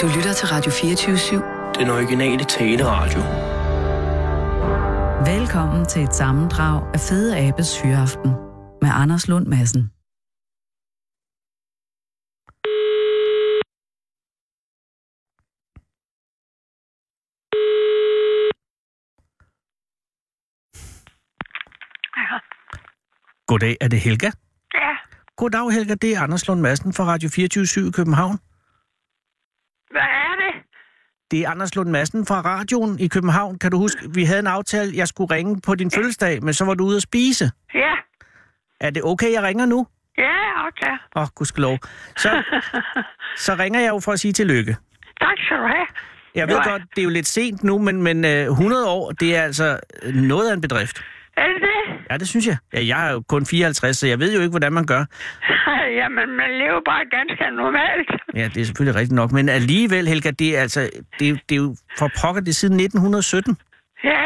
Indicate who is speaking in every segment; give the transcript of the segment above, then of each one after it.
Speaker 1: Du lytter til Radio 24-7.
Speaker 2: Den originale taleradio.
Speaker 1: Velkommen til et sammendrag af Fede Abes Hyreaften med Anders Lund Madsen.
Speaker 2: Goddag, er det Helga?
Speaker 3: Ja,
Speaker 2: Goddag, Helga. Det er Anders Lund Madsen fra Radio 24 i København.
Speaker 3: hvad er det?
Speaker 2: Det er Anders Lund Madsen fra radioen i København. Kan du huske, vi havde en aftale, jeg skulle ringe på din fødselsdag, men så var du ude at spise.
Speaker 3: Ja,
Speaker 2: Er det okay, jeg ringer nu?
Speaker 3: ja, okay.
Speaker 2: Åh, oh, gudskelov. Så, så ringer jeg jo for at sige tillykke.
Speaker 3: Tak skal du have.
Speaker 2: Jeg ved
Speaker 3: Nej.
Speaker 2: godt, det er jo lidt sent nu, men, men øh, 100 år, det er altså noget af en bedrift.
Speaker 3: Er det det?
Speaker 2: Ja, det synes jeg. Ja, jeg er jo kun 54, så jeg ved jo ikke, hvordan man gør.
Speaker 3: Jamen, man lever bare ganske normalt.
Speaker 2: Ja, det er selvfølgelig rigtigt nok, men alligevel, Helga, det er altså, det, er- det er jo for pokker, det er siden 1917.
Speaker 3: Ja.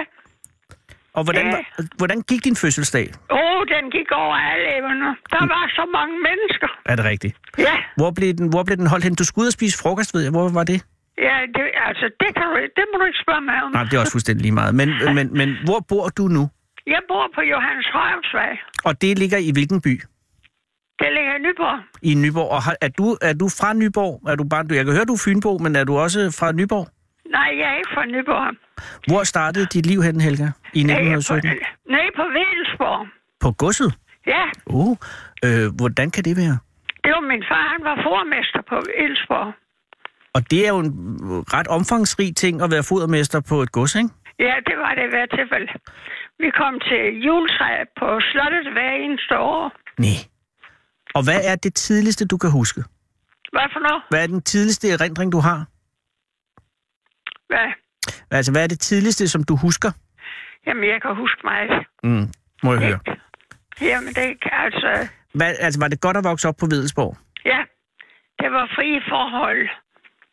Speaker 2: Og hvordan,
Speaker 3: Ja.
Speaker 2: var- hvordan gik din fødselsdag?
Speaker 3: Åh, oh, den gik over alle evner. Der var så mange mennesker.
Speaker 2: Er det rigtigt?
Speaker 3: Ja,
Speaker 2: Hvor blev den, hvor blev den holdt hen? Du skulle ud og spise frokost, ved jeg. Hvor var det?
Speaker 3: ja det, altså, det, kan du, ikke- det må du ikke spørge mig om.
Speaker 2: Nej, det er også fuldstændig lige meget. Men, men, men hvor bor du nu?
Speaker 3: Jeg bor på Johannes Højhjemsvej.
Speaker 2: Og det ligger i hvilken by?
Speaker 3: Det ligger i Nyborg.
Speaker 2: I Nyborg. Og har, er, du, er du fra Nyborg? Er du bare, du- jeg kan høre, du er Fynbo, men er du også fra Nyborg?
Speaker 3: Nej, jeg er ikke fra Nyborg.
Speaker 2: Hvor startede dit liv hen, Helga? I
Speaker 3: Jeg er på,
Speaker 2: 1917?
Speaker 3: nej, på Vedelsborg.
Speaker 2: På godset?
Speaker 3: Ja,
Speaker 2: Uh, øh, hvordan kan det være?
Speaker 3: det var min far, han var formester på Vedelsborg.
Speaker 2: Og det er jo en øh, ret omfangsrig ting at være fodermester på et gods, ikke?
Speaker 3: Ja, det var det i hvert tilfælde. Vi kom til juletræ på slottet hver eneste år.
Speaker 2: Nej. Og hvad er det tidligste, du kan huske?
Speaker 3: Hvad for noget?
Speaker 2: Hvad er den tidligste erindring, du har?
Speaker 3: Hvad?
Speaker 2: Altså, hvad er det tidligste, som du husker?
Speaker 3: Jamen, jeg kan huske mig.
Speaker 2: Mm, må jeg høre.
Speaker 3: Jamen, det kan altså...
Speaker 2: Hvad, altså, var det godt at vokse op på Vedelsborg?
Speaker 3: Ja, det var frie forhold.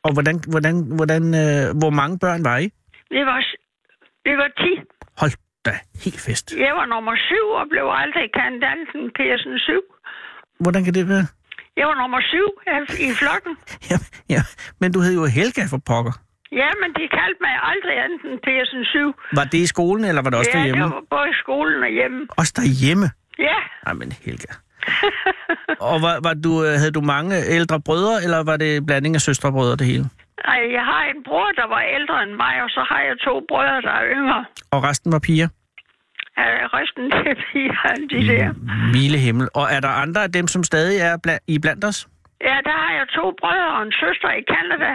Speaker 2: Og hvordan, hvordan, hvordan, øh, hvor mange børn var I?
Speaker 3: Vi var, s- vi var 10.
Speaker 2: Hold da, helt fest.
Speaker 3: Jeg var nummer 7 og blev aldrig kandidaten Pearson 7.
Speaker 2: Hvordan kan det være?
Speaker 3: Jeg var nummer 7 af- i flokken.
Speaker 2: Ja, ja. Men du hed jo Helga for pokker.
Speaker 3: Ja, men de kaldte mig aldrig anden Pearson 7.
Speaker 2: Var det i skolen, eller var det også
Speaker 3: ja,
Speaker 2: derhjemme?
Speaker 3: det var både i skolen og hjemme.
Speaker 2: Også derhjemme?
Speaker 3: Ja,
Speaker 2: Ej, men Helga. og var, var du, øh, havde du mange ældre brødre, eller var det blanding af søstre og brødre det hele?
Speaker 3: Ej, jeg har en bror, der var ældre end mig, og så har jeg to brødre, der er yngre.
Speaker 2: Og resten var piger?
Speaker 3: Øh, Resten det er piger, end
Speaker 2: Mhm.
Speaker 3: de der.
Speaker 2: Mile himmel. Og er der andre af dem, som stadig er bla- i blandt os?
Speaker 3: Ja, der har jeg to brødre og en søster i Canada.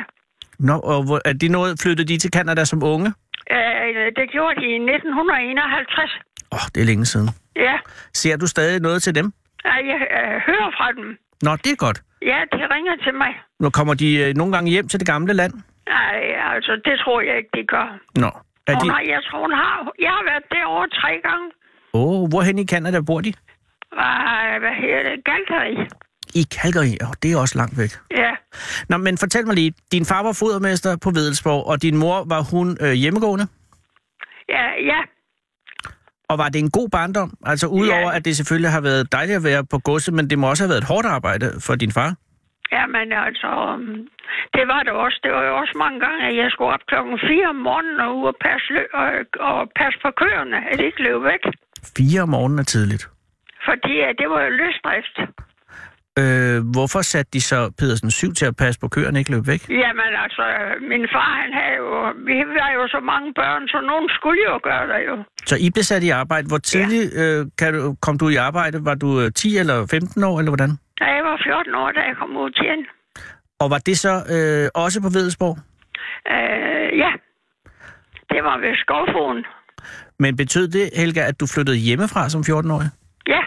Speaker 2: Nå, og hvor, er de noget, flyttede de til Canada som unge?
Speaker 3: Øh, Det gjorde de i 1951.
Speaker 2: Åh, oh, det er længe siden.
Speaker 3: Ja,
Speaker 2: Ser du stadig noget til dem?
Speaker 3: Ej, jeg øh, hører fra dem.
Speaker 2: Nå, det er godt.
Speaker 3: Ja, de ringer til mig.
Speaker 2: Nu kommer de øh, nogle gange hjem til det gamle land.
Speaker 3: Nej, altså, det tror jeg ikke, de gør.
Speaker 2: Nå. Er
Speaker 3: Hun
Speaker 2: de...
Speaker 3: har, jeg tror, hun har... Jeg har været derovre tre gange.
Speaker 2: Åh, oh, hvorhen i Canada bor de?
Speaker 3: Hvad, hvad hedder det? Galteri.
Speaker 2: I Calgary. Åh, oh, det er også langt væk.
Speaker 3: Ja.
Speaker 2: Nå, men fortæl mig lige. Din far var fodermester på Vedelsborg, og din mor var hun øh, hjemmegående?
Speaker 3: Ja, ja.
Speaker 2: Og var det en god barndom? Altså udover,
Speaker 3: Ja.
Speaker 2: at det selvfølgelig har været dejligt at være på godset, men det må også have været et hårdt arbejde for din far.
Speaker 3: Jamen altså, øhm, det var det også. Det var jo også mange gange, at jeg skulle op klokken 4 om morgenen og ud og passe, lø- og, og passe på køerne, at de ikke løb væk.
Speaker 2: Fire om morgenen er tidligt.
Speaker 3: Fordi øh, det var jo løsdrift.
Speaker 2: Øh, hvorfor satte de så Pedersen 7 til at passe på køerne ikke løb væk?
Speaker 3: Jamen altså, øh, min far, han havde jo... Vi var jo så mange børn, så nogen skulle jo gøre det jo.
Speaker 2: Så I blev sat i arbejde. Hvor tidligt øh, kan du, kom du i arbejde? Var du øh, 10 eller 15 år, eller hvordan?
Speaker 3: Da jeg var 14 år, da jeg kom ud til hende.
Speaker 2: Og var det så øh, også på Vedelsborg?
Speaker 3: Øh, ja, det var ved skovfoden.
Speaker 2: Men betød det, Helga, at du flyttede hjemmefra som 14-årig?
Speaker 3: Ja,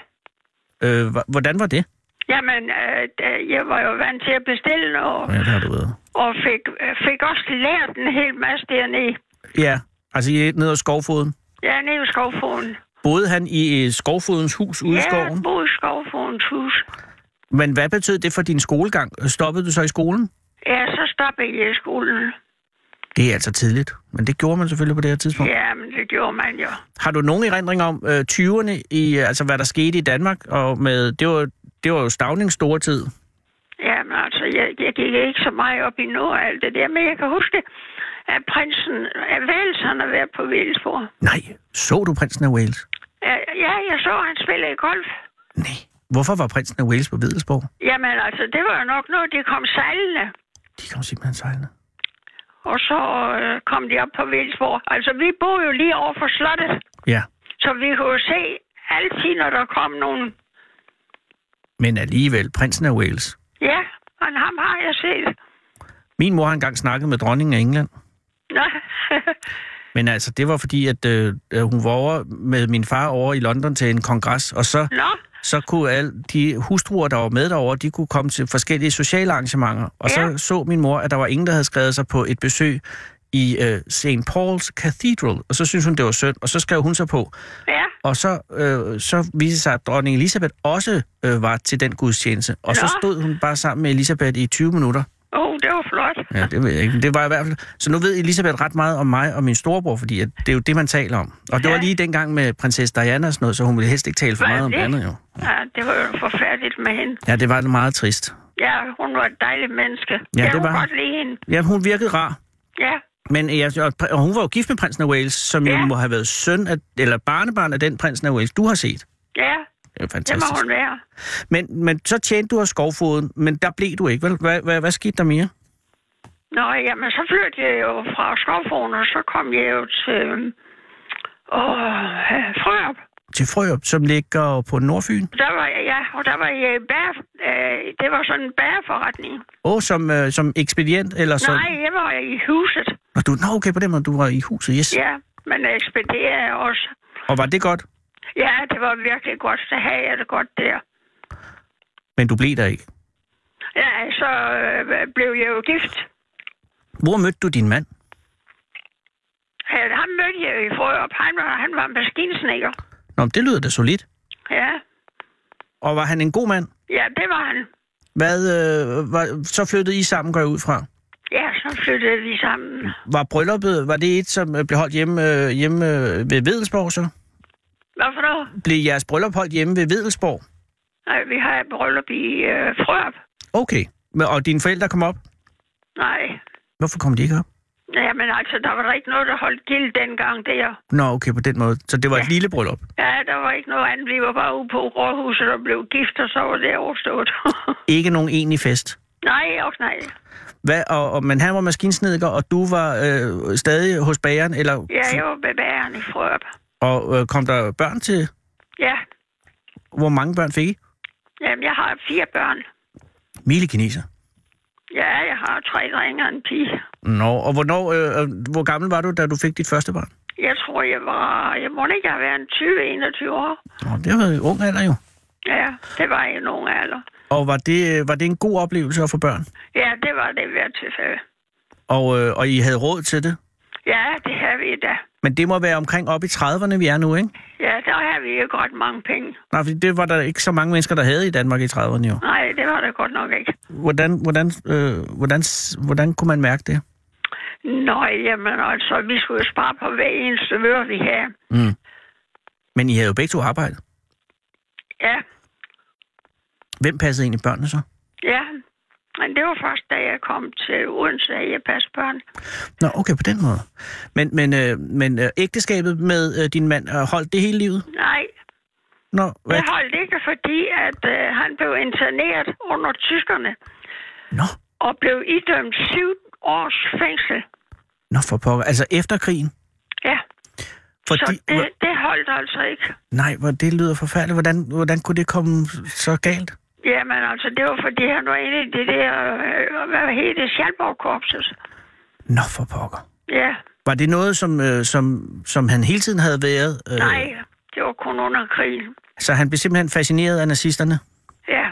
Speaker 2: Øh, hva- hvordan var det?
Speaker 3: jamen, øh, da- jeg var jo vant til at bestille noget,
Speaker 2: Ja, det har du været.
Speaker 3: og fik, fik også lært en hel masse dernede.
Speaker 2: Ja, altså I- ned ad skovfoden.
Speaker 3: Ja, nede ved skovfoden.
Speaker 2: Boede han i øh, skovfodens hus ude i skoven?
Speaker 3: Ja, boede i skovfodens hus.
Speaker 2: Men hvad betød det for din skolegang? Stoppede du så i skolen?
Speaker 3: Ja, så stoppede jeg i skolen.
Speaker 2: Det er altså tidligt, men det gjorde man selvfølgelig på det her tidspunkt.
Speaker 3: Ja, men det gjorde man jo.
Speaker 2: Har du nogen erindring om øh, 20'erne, i, øh, altså hvad der skete i Danmark? Og med, det, var, det var jo Stavnings store tid.
Speaker 3: Jamen altså, jeg, jeg gik ikke så meget op i noget af alt det der, men jeg kan huske, at prinsen af Wales, han har været på Wales
Speaker 2: Nej, så du prinsen af Wales?
Speaker 3: Ja, jeg så, han spillede golf.
Speaker 2: Nej. Hvorfor var prinsen af Wales på Vedelsborg?
Speaker 3: Jamen altså, det var jo nok noget, de kom sejlende.
Speaker 2: De kom simpelthen sejlende.
Speaker 3: Og så øh, kom de op på Vildsborg. Altså, vi boede jo lige over for slottet,
Speaker 2: Ja,
Speaker 3: så vi kunne jo se altid, når der kom nogen.
Speaker 2: men alligevel, prinsen af Wales.
Speaker 3: Ja, og ham har jeg set.
Speaker 2: Min mor har engang snakket med dronningen af England.
Speaker 3: Nå.
Speaker 2: Men altså, det var fordi, at øh, øh, hun var over med min far over i London til en kongres, og så,
Speaker 3: Nå.
Speaker 2: så kunne alle de hustruer, der var med derovre, de kunne komme til forskellige sociale arrangementer.
Speaker 3: Ja.
Speaker 2: Og så så min mor, at der var ingen, der havde skrevet sig på et besøg i øh, St. Paul's Cathedral, og så syntes hun, det var synd, og så skrev hun sig på.
Speaker 3: Ja,
Speaker 2: Og så, øh, så viste det sig, at dronning Elisabeth også øh, var til den gudstjeneste. Og så
Speaker 3: Nå.
Speaker 2: stod hun bare sammen med Elisabeth i 20 minutter.
Speaker 3: oh, det var flot.
Speaker 2: Ja, det ved jeg ikke. men Det var i hvert fald... Så nu ved Elisabeth ret meget om mig og min storebror, fordi at det er jo det, man taler om. Og det ja. var
Speaker 3: Ja.
Speaker 2: lige dengang med prinsesse Diana og sådan noget, så hun ville helst ikke tale for
Speaker 3: Hvad er
Speaker 2: meget om det
Speaker 3: det?
Speaker 2: andet, jo.
Speaker 3: Ja, det var jo forfærdeligt med hende.
Speaker 2: Ja, det var meget trist.
Speaker 3: Ja, hun var et dejligt menneske.
Speaker 2: Ja,
Speaker 3: jeg
Speaker 2: det
Speaker 3: kunne
Speaker 2: var-
Speaker 3: godt lide hende.
Speaker 2: Ja, hun virkede rar.
Speaker 3: Ja,
Speaker 2: Men ja, og pr- og hun var jo gift med prinsen af Wales, som ja.
Speaker 3: Ja.
Speaker 2: jo må have været søn af, eller barnebarn af den prinsen af Wales, du har set.
Speaker 3: ja,
Speaker 2: Det er jo
Speaker 3: det må
Speaker 2: fantastisk.
Speaker 3: hun være.
Speaker 2: Men, men så tjente du af skovfoden, men der blev du ikke, vel? Hvad, hvad, hvad skete der mere?
Speaker 3: Nå, jamen, så flyttede jeg jo fra Skovfroen, og så kom jeg jo til øhm, åh, øh, Frørup.
Speaker 2: til Frørup, som ligger på Nordfyn,
Speaker 3: Der var jeg, ja, og der var jeg i bær, øh, det var sådan en bærforretning.
Speaker 2: og som, øh, som ekspedient, eller
Speaker 3: Så...
Speaker 2: som...
Speaker 3: Nej, jeg var i huset,
Speaker 2: Nå, du, nå, okay, på den måde, du var i huset, yes.
Speaker 3: ja, men jeg ekspederede også.
Speaker 2: Og var det godt?
Speaker 3: Ja, det var virkelig godt, så havde jeg det godt der.
Speaker 2: Men du blev der ikke.
Speaker 3: Ja, så øh, blev jeg jo gift.
Speaker 2: Hvor mødte du din mand?
Speaker 3: Ja, Ham mødte jeg jo i Frørup, han var, han var maskinsnækker.
Speaker 2: Nå, men det lyder da solidt.
Speaker 3: Ja.
Speaker 2: Og var han en god mand?
Speaker 3: ja, det var han.
Speaker 2: Hvad, øh, var, så flyttede I sammen, går jeg ud fra.
Speaker 3: Ja, så flyttede vi sammen.
Speaker 2: Var brylluppet, var det et, som øh, blev holdt hjemme, øh, hjemme øh, ved Vedelsborg så?
Speaker 3: Hvad for noget?
Speaker 2: Blev jeres bryllup holdt hjemme ved Vedelsborg?
Speaker 3: Nej, vi har et bryllup i øh, Frørup.
Speaker 2: Okay. Men- Og dine forældre kom op?
Speaker 3: Nej,
Speaker 2: Hvorfor kom de ikke op?
Speaker 3: ja, men altså, der var der ikke noget, der holdt gild dengang der.
Speaker 2: Nå, okay, på den måde. Så det var ja.
Speaker 3: Ja.
Speaker 2: et lille bryllup?
Speaker 3: Ja, der var ikke noget andet. Vi var bare ude på rådhuset og blev gift, og så var det overstået.
Speaker 2: Ikke nogen egentlig fest?
Speaker 3: nej, og nej.
Speaker 2: Hvad, og, og, men han var maskinsnedker, og du var øh, stadig hos bageren, eller,
Speaker 3: Ja, jeg var med bæren i Frøb.
Speaker 2: og øh, kom der børn til?
Speaker 3: Ja,
Speaker 2: Hvor mange børn fik I?
Speaker 3: Jamen, jeg har fire børn.
Speaker 2: Mille kineser.
Speaker 3: Ja, jeg har tre drenge og en pige.
Speaker 2: Nå, og hvornår, øh, øh, hvor gammel var du, da du fik dit første barn?
Speaker 3: Jeg tror, jeg var... Jeg må ikke have været en 20-21 år.
Speaker 2: Nå, det var jo ung alder jo.
Speaker 3: Ja, det var jeg nogen alder.
Speaker 2: Og var det, øh, var det en god oplevelse at få børn?
Speaker 3: Ja, det var det i hvert tilfælde.
Speaker 2: Og, øh, og I havde råd til det?
Speaker 3: Ja, det har vi da.
Speaker 2: Men det må være omkring op i 30'erne, vi er nu, ikke?
Speaker 3: Ja, der har vi jo godt mange penge.
Speaker 2: Nej, for det var der ikke så mange mennesker, der havde i Danmark i 30'erne jo.
Speaker 3: Nej, det var det godt nok ikke.
Speaker 2: Hvordan, hvordan, øh, hvordan, s- hvordan kunne man mærke det?
Speaker 3: Nå, jamen altså, vi skulle jo spare på hver eneste øre, vi havde.
Speaker 2: Mm. Men I havde jo begge to arbejde.
Speaker 3: Ja,
Speaker 2: Hvem passede egentlig børnene så?
Speaker 3: Ja, men det var først, da jeg kom til Odense, at jeg passede børn.
Speaker 2: Nå, okay, på den måde. Men, men, øh, men øh, ægteskabet med øh, din mand, øh, holdt det hele livet?
Speaker 3: Nej,
Speaker 2: Nå, hvad?
Speaker 3: det holdt ikke, fordi at øh, han blev interneret under tyskerne
Speaker 2: Nå,
Speaker 3: og blev idømt syv års fængsel.
Speaker 2: nå for pokker. Altså efter krigen?
Speaker 3: Ja, Fordi...
Speaker 2: Fordi,
Speaker 3: så det, det holdt altså ikke.
Speaker 2: Nej, hvor det lyder forfærdeligt. Hvordan, hvordan kunne det komme så galt?
Speaker 3: Jamen altså, det var fordi, han var inde i det der, øh, hvad hedder det, Sjælborg-korpset.
Speaker 2: Nå for pokker.
Speaker 3: Ja,
Speaker 2: Var det noget, som, øh, som, som han hele tiden havde været? Øh,
Speaker 3: nej, det var kun under krigen.
Speaker 2: Så han blev simpelthen fascineret af nazisterne?
Speaker 3: Ja,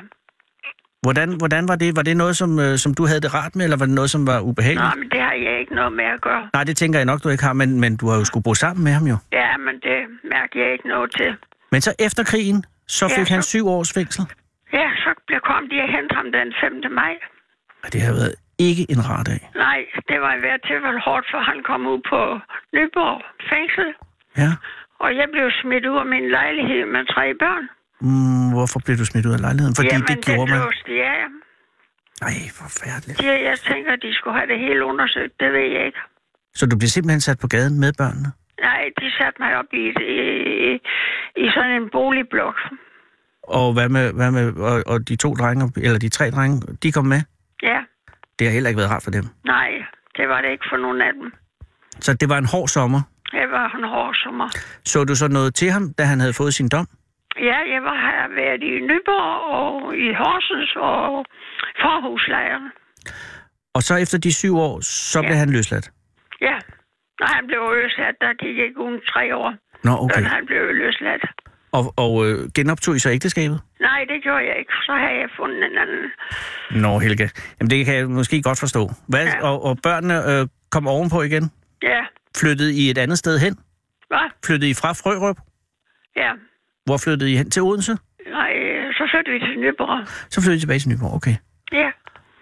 Speaker 2: Hvordan, hvordan var det? Var det noget, som, øh, som du havde det rart med, eller var det noget, som var ubehageligt?
Speaker 3: Nå, men det har jeg ikke noget med at gøre.
Speaker 2: Nej, det tænker jeg nok, du ikke har, men, men du har jo skulle bo sammen med ham jo.
Speaker 3: Ja, men det mærker jeg ikke noget til.
Speaker 2: Men så efter krigen, så
Speaker 3: Ja,
Speaker 2: fik ja, han
Speaker 3: så-
Speaker 2: syv års fængsel.
Speaker 3: Ja, så blev kom de og hentede ham den 5. maj.
Speaker 2: Og det har været ikke en rar dag.
Speaker 3: Nej, det var i hvert tilfælde hårdt, for han kom ud på Nyborg fængsel.
Speaker 2: Ja.
Speaker 3: Og jeg blev smidt ud af min lejlighed med tre børn.
Speaker 2: Mm, hvorfor blev du smidt ud af lejligheden? Fordi Jamen, det gjorde
Speaker 3: det
Speaker 2: man.
Speaker 3: låste, ja.
Speaker 2: Nej, forfærdeligt.
Speaker 3: De, jeg tænker, at de skulle have det hele undersøgt, det ved jeg ikke.
Speaker 2: Så du blev simpelthen sat på gaden med børnene?
Speaker 3: Nej, de satte mig op i, et, i, i sådan en boligblok.
Speaker 2: Og hvad med, hvad med og, og de to drenge, eller de tre drenge, de kom med?
Speaker 3: Ja,
Speaker 2: Det har heller ikke været rart for dem.
Speaker 3: nej, det var det ikke for nogen af dem.
Speaker 2: Så det var en hård sommer.
Speaker 3: Jeg var en hård sommer.
Speaker 2: Så du så noget til ham, da han havde fået sin dom?
Speaker 3: Ja, jeg var, har været i Nyborg og i Horsens og forhuslejren.
Speaker 2: Og så efter de syv år, så ja. blev han løsladt?
Speaker 3: Ja, når han blev løsladt, der gik ikke uden tre år,
Speaker 2: Nå,
Speaker 3: okay.
Speaker 2: okay.
Speaker 3: han blev løsladt.
Speaker 2: Og, og øh, genoptog I så ægteskabet?
Speaker 3: Nej, det gjorde jeg ikke, så havde jeg fundet en anden.
Speaker 2: Nå, Helga. Jamen, det kan jeg måske godt forstå. Hvad, ja.
Speaker 3: Ja.
Speaker 2: og, og børnene øh, kom ovenpå igen?
Speaker 3: Ja,
Speaker 2: Flyttede I et andet sted hen?
Speaker 3: hvad?
Speaker 2: Flyttede I fra Frørup?
Speaker 3: Ja,
Speaker 2: Hvor flyttede I hen? Til Odense?
Speaker 3: nej, så flyttede vi til Nyborg.
Speaker 2: Så flyttede I tilbage til Nyborg, okay.
Speaker 3: Ja,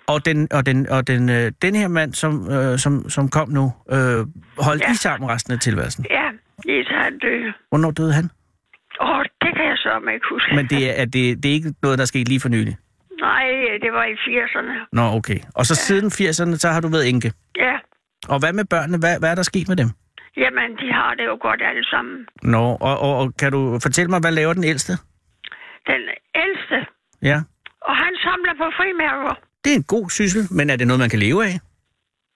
Speaker 2: Og den, og den, og den, øh, den her mand, som, øh, som, som kom nu, øh, holdt ja.
Speaker 3: Ja.
Speaker 2: I sammen resten af tilværelsen.
Speaker 3: ja, lige så han døde.
Speaker 2: Hvornår døde han?
Speaker 3: Åh, det kan jeg så ikke huske.
Speaker 2: Men det er, er det, det er ikke noget, der skete lige for nylig.
Speaker 3: Nej, det var i 80'erne.
Speaker 2: Nå, okay. Og så siden 80'erne, så har du været enke.
Speaker 3: Ja,
Speaker 2: Og hvad med børnene? Hvad, hvad er der sket med dem?
Speaker 3: jamen, de har det jo godt alle sammen.
Speaker 2: Nå, og, og, og kan du fortælle mig, hvad laver den ældste?
Speaker 3: Den ældste,
Speaker 2: Ja.
Speaker 3: og han samler på frimærker.
Speaker 2: Det er en god syssel, men er det noget, man kan leve af?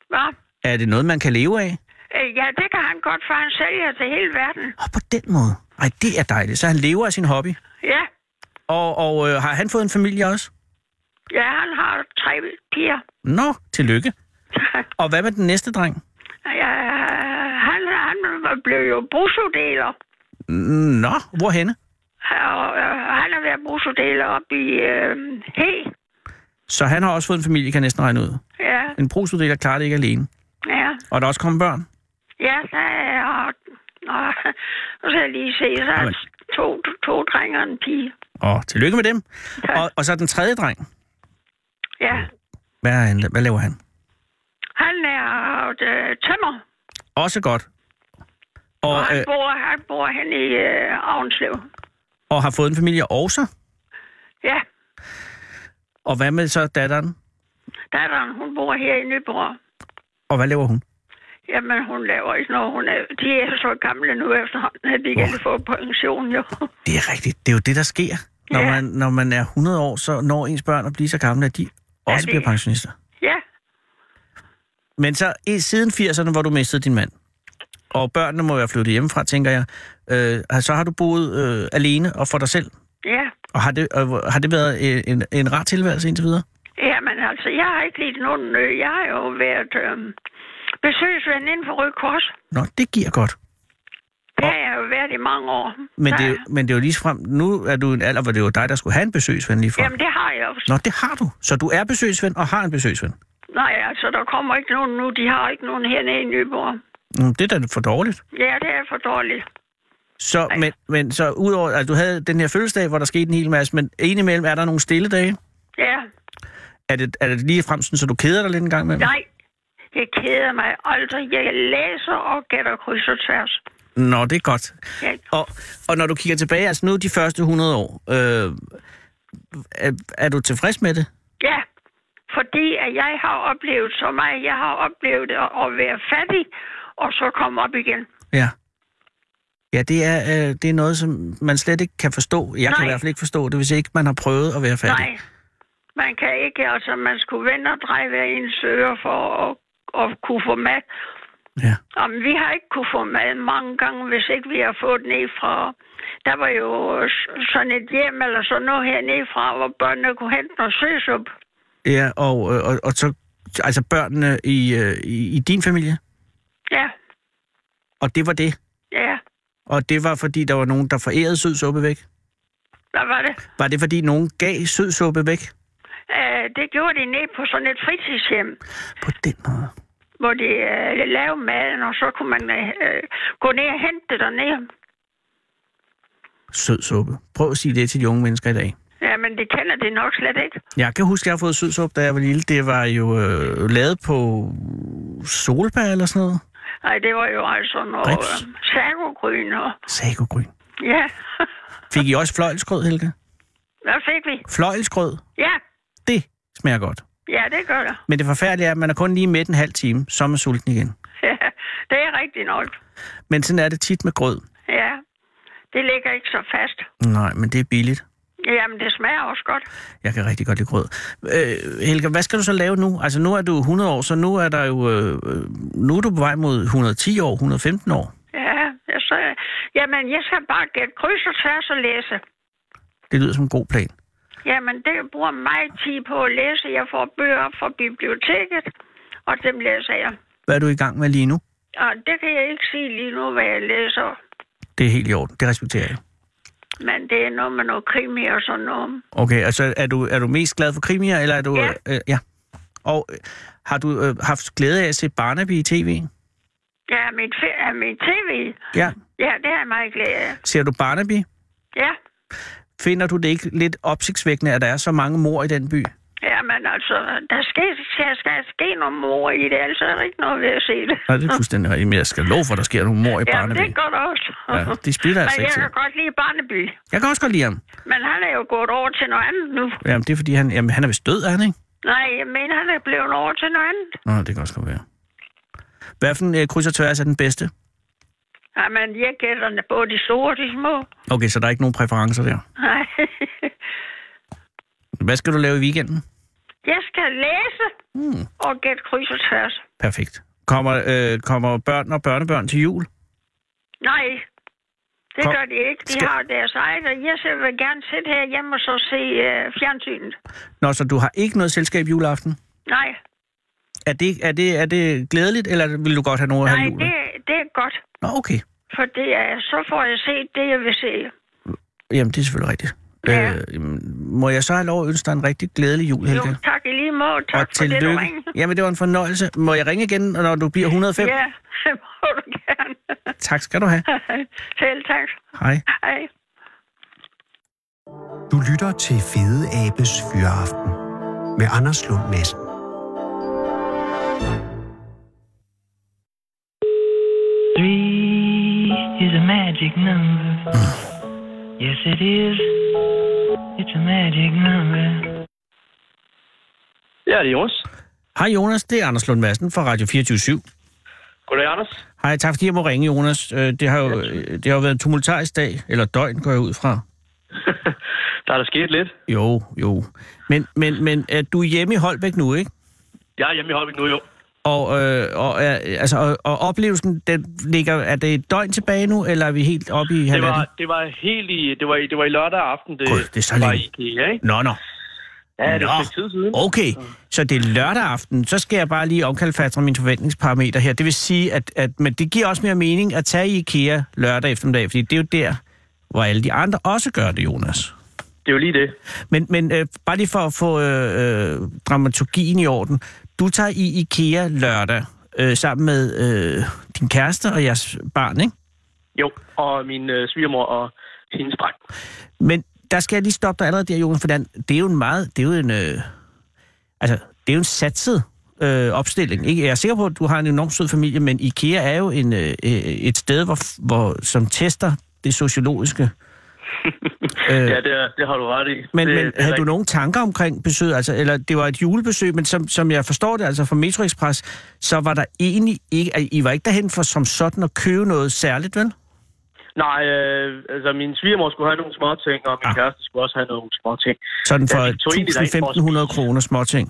Speaker 3: Hva?
Speaker 2: Er det noget, man kan leve af?
Speaker 3: Øh, Ja, det kan han godt, for han sælger til hele verden.
Speaker 2: Og på den måde. Ej, det er dejligt. Så han lever af sin hobby.
Speaker 3: Ja,
Speaker 2: Og, og øh, har han fået en familie også?
Speaker 3: ja han har tre piger.
Speaker 2: Nå, tillykke. Og hvad med den næste dreng?
Speaker 3: ja, han, han blev jo brusodeler.
Speaker 2: Nå, hvorhenne?
Speaker 3: Og, øh, han har været brusodeler op i øh, He.
Speaker 2: Så han har også fået en familie, kan jeg næsten regne ud.
Speaker 3: Ja,
Speaker 2: En brugsuddeler klarer det ikke alene.
Speaker 3: ja,
Speaker 2: Og der er også kommet børn.
Speaker 3: ja, der er... Og, og, nu skal jeg lige se, så er
Speaker 2: Jamen.
Speaker 3: to, to drenge og en pige.
Speaker 2: Og tillykke med dem.
Speaker 3: Tak.
Speaker 2: Og, og så den tredje dreng.
Speaker 3: Ja,
Speaker 2: Hvad, er han, hvad laver han?
Speaker 3: han er øh, tømmer,
Speaker 2: Også godt. Og,
Speaker 3: og han
Speaker 2: øh,
Speaker 3: bor, han bor hen i øh, Avnslev.
Speaker 2: og har fået en familie også.
Speaker 3: Ja,
Speaker 2: Og hvad med så datteren?
Speaker 3: datteren, hun bor her i Nyborg.
Speaker 2: Og hvad laver hun?
Speaker 3: Jamen, hun laver ikke noget. Hun er, de er så gamle nu efterhånden, at de ikke kan få pension, jo.
Speaker 2: Det er rigtigt. Det er jo det, der sker. Når,
Speaker 3: Ja.
Speaker 2: man, når man er 100 år, så når ens børn at blive så gamle, at de også
Speaker 3: det-
Speaker 2: bliver pensionister.
Speaker 3: Ja,
Speaker 2: Men så i- siden 80'erne, hvor du mistede din mand, og børnene må være flyttet hjemmefra, tænker jeg, øh, så har du boet øh, alene og for dig selv.
Speaker 3: ja.
Speaker 2: Og har det, og hvor- har det været øh, en, en rar tilværelse indtil videre?
Speaker 3: Jamen, altså, jeg har ikke lidt nogen... øh, Jeg har jo været øh, besøgsven inden for Røde Kors.
Speaker 2: Nå, det giver godt.
Speaker 3: Det har jeg jo været i mange år.
Speaker 2: Men,
Speaker 3: Der-
Speaker 2: det, er jo- men det er jo lige frem. Nu er du i en alder, hvor det var dig, der skulle have en besøgsven lige frem.
Speaker 3: Jamen, det har jeg jo.
Speaker 2: Nå, det har du. Så du er besøgsven og har en besøgsven.
Speaker 3: Nej, altså, der kommer ikke nogen nu. De har ikke nogen hernede i Nyborg.
Speaker 2: Mm, Det er da for dårligt.
Speaker 3: Ja, det er for dårligt.
Speaker 2: Så, men, men så udover, at altså, du havde den her fødselsdag, hvor der skete en hel masse, men indimellem er der nogle stille dage.
Speaker 3: Ja,
Speaker 2: Er det, er det lige frem sådan, så du keder dig lidt en gang imellem?
Speaker 3: nej. Jeg keder mig aldrig. Jeg læser og gætter kryds og tværs.
Speaker 2: Nå, det er godt.
Speaker 3: Jeg
Speaker 2: Og, og når du kigger tilbage, altså nu de første 100 år, øh, er, er du tilfreds med det?
Speaker 3: Ja, fordi at jeg har oplevet så meget. Jeg har oplevet at, at være fattig, og så komme op igen.
Speaker 2: Ja. Ja, det er, øh, det er noget, som man slet ikke kan forstå. Jeg kan
Speaker 3: Nej.
Speaker 2: i hvert fald ikke forstå det, hvis ikke man har prøvet at være fattig.
Speaker 3: Nej, man kan ikke. Altså, man skulle vende og dreje hver ens øre for at, at kunne få mad.
Speaker 2: Ja.
Speaker 3: Jamen, vi har ikke kunne få mad mange gange, hvis ikke vi har fået ned fra... Der var jo s- sådan et hjem eller sådan noget hernede fra, hvor børnene kunne hente noget søsup.
Speaker 2: Ja, og, øh, og, og så altså børnene i, øh, i, i din familie,
Speaker 3: Ja,
Speaker 2: og det var det.
Speaker 3: ja.
Speaker 2: Og det var, fordi der var nogen, der forærede sødsuppe væk.
Speaker 3: Hvad var det?
Speaker 2: Var det, fordi nogen gav sødsuppe væk?
Speaker 3: Øh, det gjorde de ned på sådan et fritidshjem.
Speaker 2: På den måde.
Speaker 3: hvor de øh, lavede maden, og så kunne man øh, gå ned og hente det dernede.
Speaker 2: Sødsuppe. Prøv at sige det til de unge mennesker i dag.
Speaker 3: Ja, men det kender de nok slet ikke.
Speaker 2: Jeg kan huske, at jeg har fået sødsuppe, da jeg var lille. Det var jo øh, lavet på solbær eller sådan noget.
Speaker 3: Nej, det var jo altså noget
Speaker 2: Rips.
Speaker 3: øh, sagogryn og...
Speaker 2: Sagogryn.
Speaker 3: Ja,
Speaker 2: Fik I også fløjlsgrød, Helga?
Speaker 3: hvad fik vi?
Speaker 2: Fløjlsgrød,
Speaker 3: Ja,
Speaker 2: det smager godt.
Speaker 3: Ja, det gør der.
Speaker 2: Men det forfærdelige er, at man er kun lige midt en halv time, så er man sulten igen.
Speaker 3: Ja, det er rigtigt nok.
Speaker 2: Men sådan er det tit med grød.
Speaker 3: Ja, det ligger ikke så fast.
Speaker 2: Nej, men det er billigt.
Speaker 3: Jamen, det smager også godt.
Speaker 2: Jeg kan rigtig godt lide grød. Øh, Helga, hvad skal du så lave nu? Altså, nu er du 100 år, så nu er der jo... Øh, øh, nu er du på vej mod 110 år, 115 år.
Speaker 3: Ja, jeg så, jamen, jeg skal bare gætte kryds og tværs og læse.
Speaker 2: Det lyder som en god plan.
Speaker 3: Jamen, det bruger meget tid på at læse. Jeg får bøger op fra biblioteket, og dem læser jeg.
Speaker 2: Hvad er du i gang med lige nu?
Speaker 3: Og det kan jeg ikke sige lige nu, hvad jeg læser.
Speaker 2: Det er helt i orden. Det respekterer jeg.
Speaker 3: Men det er noget med noget krimi og sådan noget.
Speaker 2: Okay, altså er du, er du mest glad for krimier, eller er du...
Speaker 3: Ja.
Speaker 2: Øh, ja. Og øh, har du øh, haft glæde af at se Barnaby i tv?
Speaker 3: Ja, mit, fe- ja, mit tv.
Speaker 2: Ja.
Speaker 3: Ja, det er jeg meget glad af.
Speaker 2: Ser du Barnaby?
Speaker 3: Ja,
Speaker 2: Finder du det ikke lidt opsigtsvækkende, at der er så mange mor i den by?
Speaker 3: jamen altså, der skal, skal, skal ske nogle mor i det, altså er der ikke noget ved at se det.
Speaker 2: Nej, det er fuldstændig rigtigt, men jeg skal love for, at der sker nogle mor i
Speaker 3: Jamen,
Speaker 2: Barnaby.
Speaker 3: det er godt også.
Speaker 2: Ja, de spilder altså
Speaker 3: Men
Speaker 2: ikke
Speaker 3: jeg
Speaker 2: tid.
Speaker 3: kan godt lide Barneby.
Speaker 2: Jeg kan også godt lide ham.
Speaker 3: Men han er jo gået over til noget andet nu.
Speaker 2: Jamen, det er fordi, han, jamen, han er vist død, er han ikke?
Speaker 3: Nej, jeg mener, han er blevet over til noget andet.
Speaker 2: Nå, det kan også godt være. Hvad for en øh, kryds og tværs er den bedste?
Speaker 3: Jamen, jeg gætter både de store og de små.
Speaker 2: Okay, så der er ikke nogen præferencer der.
Speaker 3: Nej.
Speaker 2: Hvad skal du lave i weekenden?
Speaker 3: Jeg skal læse
Speaker 2: Hmm,
Speaker 3: og gætte kryds og tværs.
Speaker 2: perfekt. Kommer, øh, kommer børn og børnebørn til jul?
Speaker 3: Nej, det
Speaker 2: Kom.
Speaker 3: gør de ikke. De
Speaker 2: Skal-
Speaker 3: har deres eget, og jeg selv vil gerne sidde her hjemme og så se øh, fjernsynet.
Speaker 2: Nå, så du har ikke noget selskab juleaften?
Speaker 3: Nej,
Speaker 2: Er det, er det, er det glædeligt, eller vil du godt have noget
Speaker 3: nej,
Speaker 2: her jul?
Speaker 3: det, det er godt.
Speaker 2: Nå, okay.
Speaker 3: For det er, så får jeg set det, jeg vil se.
Speaker 2: Jamen, det er selvfølgelig rigtigt.
Speaker 3: Ja.
Speaker 2: Øh, jamen, må jeg så have lov at ønske dig en rigtig glædelig jul, Helga?
Speaker 3: Jo, tak i lige måde. Tak
Speaker 2: og
Speaker 3: for det, du
Speaker 2: tillykke.
Speaker 3: ringede.
Speaker 2: Jamen, det var en fornøjelse. Må jeg ringe igen, når du bliver 105?
Speaker 3: Ja, det må du gerne.
Speaker 2: Tak skal du have.
Speaker 3: Selv tak.
Speaker 2: Hej.
Speaker 3: Hej.
Speaker 4: Du lytter til Fede Abes Fyraften med Anders Lund Madsen.
Speaker 5: Three is a magic number. yes, it is. It's a magic number.
Speaker 6: Ja, det er Jonas.
Speaker 2: Hej Jonas, det er Anders Lund Madsen fra Radio 24
Speaker 6: Goddag, Anders.
Speaker 2: Hej, tak fordi jeg må ringe, Jonas. Øh, Det har jo, øh, det har jo været en tumultarisk dag, eller døgn går jeg ud fra.
Speaker 6: Der er der sket lidt.
Speaker 2: Jo, jo. Men, men, men øh, du er hjemme i Holbæk nu, ikke?
Speaker 6: Jeg er hjemme i Holbæk nu, jo.
Speaker 2: Og, øh, og, øh, altså, og, og oplevelsen, den ligger, er det et døgn tilbage nu, eller er vi helt oppe i
Speaker 6: Det
Speaker 2: halvanden?
Speaker 6: var, det var helt i, det var i, det var i lørdag aften, det,
Speaker 2: Gud, det er så
Speaker 6: var
Speaker 2: længe.
Speaker 6: i IKEA, ikke?
Speaker 2: Nå, nå.
Speaker 6: Ja, det er
Speaker 2: Nå.
Speaker 6: et stykke tid siden.
Speaker 2: Okay, så det er lørdag aften. Så skal jeg bare lige omkalfatre mine forventningsparametre her. Det vil sige, at, at men det giver også mere mening at tage i IKEA lørdag eftermiddag, fordi det er jo der, hvor alle de andre også gør det, Jonas.
Speaker 6: Det er jo lige det.
Speaker 2: Men, men øh, bare lige for at få øh, øh, dramaturgien i orden. Du tager i IKEA lørdag øh, sammen med øh, din kæreste og jeres barn, ikke?
Speaker 6: Jo, og min øh, svigermor og hendes dreng.
Speaker 2: Men der skal jeg lige stoppe dig allerede der, Jonas, for den- det er jo en meget... Det er jo en, øh, altså, det er jo en satset øh, opstilling. Ikke? Jeg er sikker på, at du har en enormt sød familie, men IKEA er jo en, øh, øh, et sted, hvor, hvor, som tester det sociologiske.
Speaker 6: Øh. Ja, det, er- det har du ret i.
Speaker 2: Men,
Speaker 6: det,
Speaker 2: det, men
Speaker 6: det er
Speaker 2: havde du
Speaker 6: rigtigt.
Speaker 2: nogen tanker omkring besøget? Altså, eller det var et julebesøg, men som, som jeg forstår det, altså fra Metro Express, så var der egentlig ikke... at I var ikke derhen for som sådan at købe noget særligt, vel?
Speaker 6: Nej, øh, altså min svigermor skulle have nogle små ting, og min
Speaker 2: Ah.
Speaker 6: ah. kæreste skulle også have nogle små ting.
Speaker 2: Sådan for
Speaker 6: Ja, vi tog egentlig derind for at
Speaker 2: 1.500
Speaker 6: spise.
Speaker 2: kroner småting.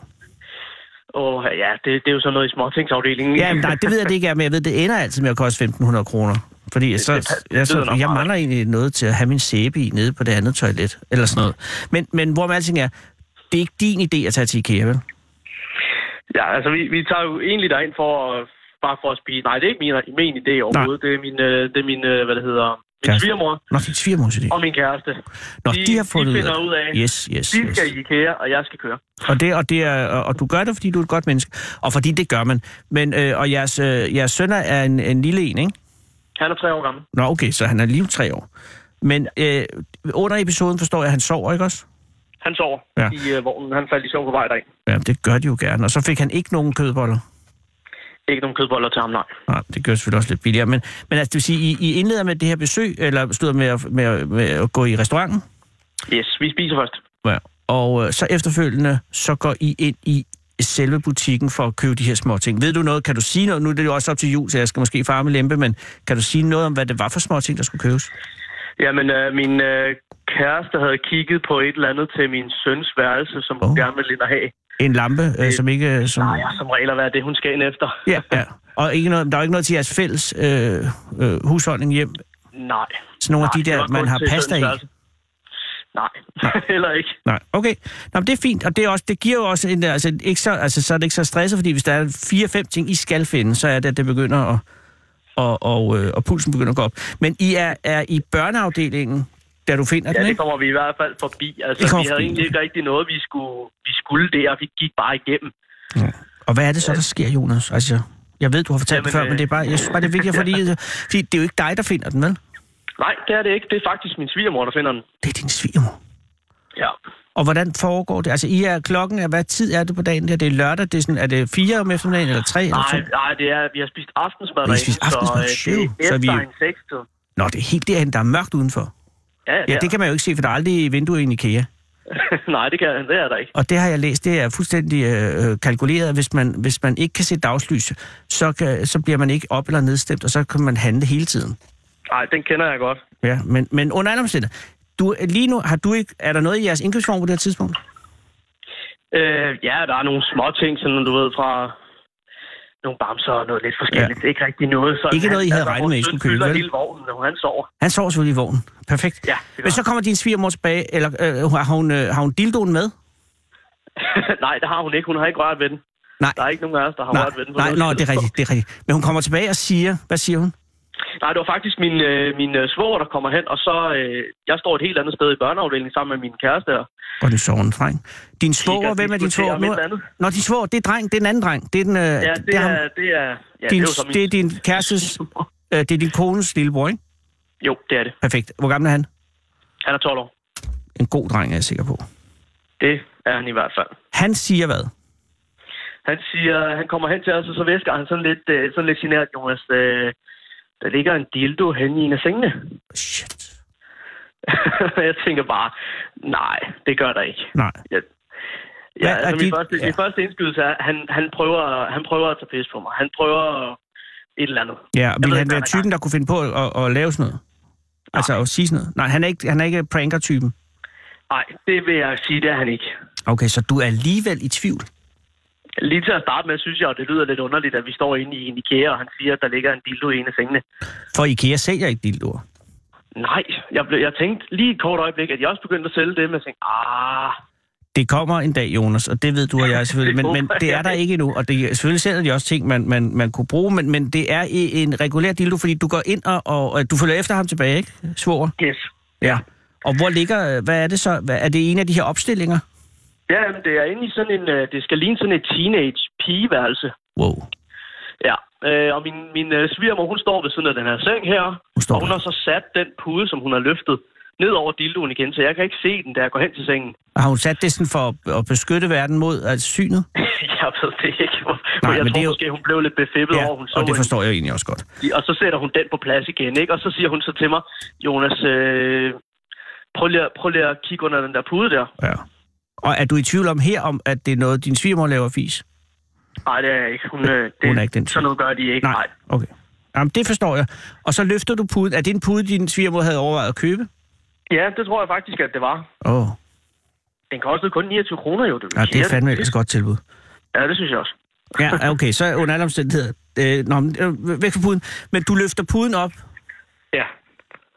Speaker 6: Og ja, det, det er jo sådan noget i småtingsafdelingen.
Speaker 2: Ja, men nej, det ved jeg det ikke er, men jeg ved, det ender altid med at koste 1.500 kroner. Fordi så,
Speaker 6: det pa- det
Speaker 2: jeg,
Speaker 6: lyder
Speaker 2: så,
Speaker 6: nok
Speaker 2: jeg
Speaker 6: meget.
Speaker 2: mangler egentlig noget til at have min sæbe i nede på det andet toilet, eller sådan noget. Men, men hvor man alting er, det er ikke din idé at tage til IKEA, vel?
Speaker 6: Ja, altså vi, vi tager jo egentlig derind for at, bare for at spise. Nej, det er ikke min, min idé overhovedet. Det er min, øh, det er min øh, hvad det hedder, min
Speaker 2: Kæreste.
Speaker 6: svigermor
Speaker 2: Nå, det er svigermors idé.
Speaker 6: og min kæreste.
Speaker 2: Nå,
Speaker 6: de-
Speaker 2: de, har
Speaker 6: de
Speaker 2: fundet
Speaker 6: finder ud af-
Speaker 2: Yes, yes,
Speaker 6: De
Speaker 2: yes.
Speaker 6: skal i IKEA, og jeg skal køre.
Speaker 2: Og, det, og, det er, og og du gør det, fordi du er et godt menneske. Og fordi det gør man. Men, øh, og jeres, øh, jeres søn er en, en lille en, ikke?
Speaker 6: Han er tre år gammel.
Speaker 2: Nå, okay, så han er lige tre år. Men øh, under episoden forstår jeg, at han sover, ikke også?
Speaker 6: Han sover
Speaker 2: Ja.
Speaker 6: ja. i øh, vognen. Han faldt i søvn på vej derind.
Speaker 2: Ja, det gør de jo gerne. Og så fik han ikke nogen kødboller.
Speaker 6: Ikke nogen kødboller til ham, nej.
Speaker 2: Nej, det gør selvfølgelig også lidt billigere. Men, men altså, det vil sige, I, I indleder med det her besøg, eller slutter med at, med, at- med at gå i restauranten,
Speaker 6: Yes, vi spiser først.
Speaker 2: ja. og øh, så efterfølgende, så går I ind i selve butikken for at købe de her små ting. Ved du noget? Kan du sige noget? Nu er det jo også op til jul, så jeg skal måske farme lempe, men kan du sige noget om, hvad det var for små ting, der skulle købes?
Speaker 6: Jamen, øh, min øh, kæreste havde kigget på et eller andet til min søns værelse, som hun
Speaker 2: Åh.
Speaker 6: gerne ville ind og have.
Speaker 2: En lampe, øh, som ikke... øh, Som...
Speaker 6: Nej, som regel at være det, hun skal ind efter.
Speaker 2: Ja, ja. Og ikke noget, der er jo ikke noget til jeres fælles øh, øh, husholdning hjem.
Speaker 6: Nej.
Speaker 2: Sådan nogle af de
Speaker 6: Nej, det
Speaker 2: der,
Speaker 6: var
Speaker 2: man
Speaker 6: kun
Speaker 2: har
Speaker 6: til
Speaker 2: pasta i.
Speaker 6: søns værelse. Nej, heller ikke.
Speaker 2: Nej, okay. Nå, men det er fint, og det, er også, det giver jo også en, altså, ikke så, altså, så er det ikke så stresset, fordi hvis der er fire-fem ting, I skal finde, så er det, at det begynder at, og, og, øh, og pulsen begynder at gå op. Men I er, er i børneafdelingen, da du finder
Speaker 6: Ja,
Speaker 2: den,
Speaker 6: det
Speaker 2: ikke?
Speaker 6: kommer vi i hvert fald forbi. Altså,
Speaker 2: Det kommer
Speaker 6: vi havde
Speaker 2: forbi.
Speaker 6: egentlig ikke rigtig noget, vi skulle, vi skulle der. Vi gik bare igennem.
Speaker 2: Og hvad er det så, der sker, Jonas? Altså, jeg ved, du har fortalt det
Speaker 6: Jamen, øh,
Speaker 2: før, men det er bare, jeg synes bare, det er vigtigt, fordi, fordi det er jo ikke dig, der finder den, vel?
Speaker 6: Nej, det er det ikke. Det er faktisk min svigermor, der finder den.
Speaker 2: Det er din svigermor.
Speaker 6: Ja.
Speaker 2: Og hvordan foregår det? Altså, I er klokken, er, hvad tid er det på dagen? Er det lørdag? Det er, sådan, er det fire om eftermiddagen, eller tre? Eller to?
Speaker 6: Nej, nej, det er, vi har spist aftensmad
Speaker 2: Vi har spist
Speaker 6: derinde,
Speaker 2: aftensmad,
Speaker 6: så, øh, det
Speaker 2: syv,
Speaker 6: er
Speaker 2: så
Speaker 6: efter
Speaker 2: vi-
Speaker 6: en sekstid.
Speaker 2: Nå, det er helt derhen, der er mørkt udenfor.
Speaker 6: Ja,
Speaker 2: Ja, det kan man jo ikke se, for der er aldrig vinduer i en IKEA.
Speaker 6: nej, det, kan, det er der ikke.
Speaker 2: Og det har jeg læst, det er fuldstændig øh, øh, kalkuleret, at hvis man, hvis man ikke kan se dagslys, så, kan, så bliver man ikke op- eller nedstemt, og så kan man handle hele tiden.
Speaker 6: Nej, den kender jeg godt.
Speaker 2: Ja, men, men under alle omstændigheder, du, lige nu, har du ikke, er der noget i jeres indkøbsform på det her tidspunkt?
Speaker 6: Øh, ja, der er nogle små ting, sådan du ved, fra nogle bamser og noget lidt forskelligt. Ja. Ikke rigtig noget. Sådan,
Speaker 2: Ikke noget, I havde
Speaker 6: altså,
Speaker 2: regnet
Speaker 6: vores
Speaker 2: med, I
Speaker 6: søn
Speaker 2: skulle købe,
Speaker 6: fylder
Speaker 2: vel?
Speaker 6: hele vognen, når han sover.
Speaker 2: Han sover selvfølgelig i vognen. Perfekt.
Speaker 6: Ja, det gør
Speaker 2: men så
Speaker 6: han.
Speaker 2: kommer din svigermor tilbage, eller øh, har, hun, øh, har hun dildoen med?
Speaker 6: nej, det har hun ikke. Hun har ikke rørt ved den.
Speaker 2: Nej.
Speaker 6: Der er ikke nogen af os, der har
Speaker 2: nej,
Speaker 6: rørt ved den. på
Speaker 2: nej,
Speaker 6: noget
Speaker 2: nå, det er
Speaker 6: tidspunkt.
Speaker 2: rigtigt, det er rigtigt. Men hun kommer tilbage og siger, hvad siger hun?
Speaker 6: Nej, det var faktisk min, øh, min øh, svoger, der kommer hen, og så... Øh, jeg står et helt andet sted i børneafdelingen sammen med min kæreste her.
Speaker 2: Og den sovende dreng. Din svoger, hvem er din svoger?
Speaker 6: diskuterer om
Speaker 2: Nu-
Speaker 6: et eller andet.
Speaker 2: Nå, din svoger, det er dreng, det er en anden dreng. Det er, den, øh,
Speaker 6: Ja, det, det er,
Speaker 2: ham-
Speaker 6: det er... Ja,
Speaker 2: din,
Speaker 6: det er jo så min...
Speaker 2: det er din kærestes, øh, det er din kones lillebror, ikke?
Speaker 6: Jo, det er det.
Speaker 2: Perfekt. Hvor gammel er han?
Speaker 6: Han er 12 år.
Speaker 2: En god dreng, er jeg sikker på.
Speaker 6: Det er han i hvert fald.
Speaker 2: Han siger hvad?
Speaker 6: Han siger, han kommer hen til os, og så væsker han sådan lidt, øh, sådan lidt genert, Jonas. Øh, der ligger en dildo hen i en af sengene.
Speaker 2: Shit.
Speaker 6: jeg tænker bare, nej, det gør der ikke.
Speaker 2: Nej.
Speaker 6: Jeg, ja,
Speaker 2: Hvad er
Speaker 6: altså, min,
Speaker 2: dit-
Speaker 6: første,
Speaker 2: ja.
Speaker 6: min første indskydelse er, at han, han, prøver, han prøver at tage pis på mig. Han prøver et eller andet.
Speaker 2: Ja, og
Speaker 6: ved
Speaker 2: ville han
Speaker 6: ikke,
Speaker 2: være
Speaker 6: hvad han er
Speaker 2: typen, der kunne finde på at, at, at lave sådan noget? Altså at sige sådan noget? Nej, han er ikke, han er ikke pranker-typen.
Speaker 6: Nej, det vil jeg sige, det er han ikke.
Speaker 2: Okay, så du er alligevel i tvivl.
Speaker 6: Lige til at starte med, synes jeg, og det lyder lidt underligt, at vi står inde i en IKEA, og han siger, at der ligger en dildo i en af sengene.
Speaker 2: For IKEA sælger ikke dildoer.
Speaker 6: Nej, jeg, blev, jeg tænkte lige et kort øjeblik, at jeg også begyndte at sælge det, men jeg tænkte, ah,
Speaker 2: Det kommer en dag, Jonas, og det ved du og jeg selvfølgelig, men, men det er der ikke endnu, og det, selvfølgelig sælger de også ting, man, man, man kunne bruge, men, men det er i en regulær dildo, fordi du går ind og, og, og du følger efter ham tilbage, ikke? Svoger?
Speaker 6: yes.
Speaker 2: Ja. Og hvor ligger, hvad er det så? Hvad, er det en af de her opstillinger?
Speaker 6: Ja, jamen, det er inde i sådan en, øh, det skal ligne sådan et teenage pigeværelse.
Speaker 2: Wow.
Speaker 6: Ja, øh, og min, min øh, svigermor, hun står ved siden af den her seng her,
Speaker 2: Hun står
Speaker 6: og hun
Speaker 2: der.
Speaker 6: har så sat den pude, som hun har løftet, ned over dildoen igen, så jeg kan ikke se den, da jeg går hen til sengen.
Speaker 2: Har hun sat det sådan for at- at beskytte verden mod altså synet?
Speaker 6: jeg ved det ikke, hvor,
Speaker 2: Nej,
Speaker 6: Nej, jeg
Speaker 2: men
Speaker 6: tror
Speaker 2: det er jo-
Speaker 6: måske, hun blev lidt befippet over, hun så
Speaker 2: og det
Speaker 6: en-
Speaker 2: forstår jeg egentlig også godt.
Speaker 6: Og så sætter hun den på plads igen, ikke? Og så siger hun så til mig, Jonas, øh, prøv, lige, at- prøv lige at kigge under den der pude der.
Speaker 2: Ja. Og er du i tvivl om her, om at det er noget, din svigermor laver fis?
Speaker 6: Nej, det er jeg ikke. Hun, øh, det,
Speaker 2: Hun er ikke den type.
Speaker 6: Sådan noget gør de ikke. Nej.
Speaker 2: Okay. Jamen, det forstår jeg. Og så løfter du puden. Er det en pude, din svigermor havde overvejet at købe?
Speaker 6: Ja, det tror jeg faktisk, at det var.
Speaker 2: Åh, oh,
Speaker 6: Den kostede kun 29 kroner, jo. Det,
Speaker 2: ja, det er fandme ellers et godt tilbud.
Speaker 6: Ja, det synes jeg også.
Speaker 2: Ja, okay, så under alle omstændigheder. Øh, nå, men, øh, væk fra puden. Men du løfter puden op.
Speaker 6: Ja.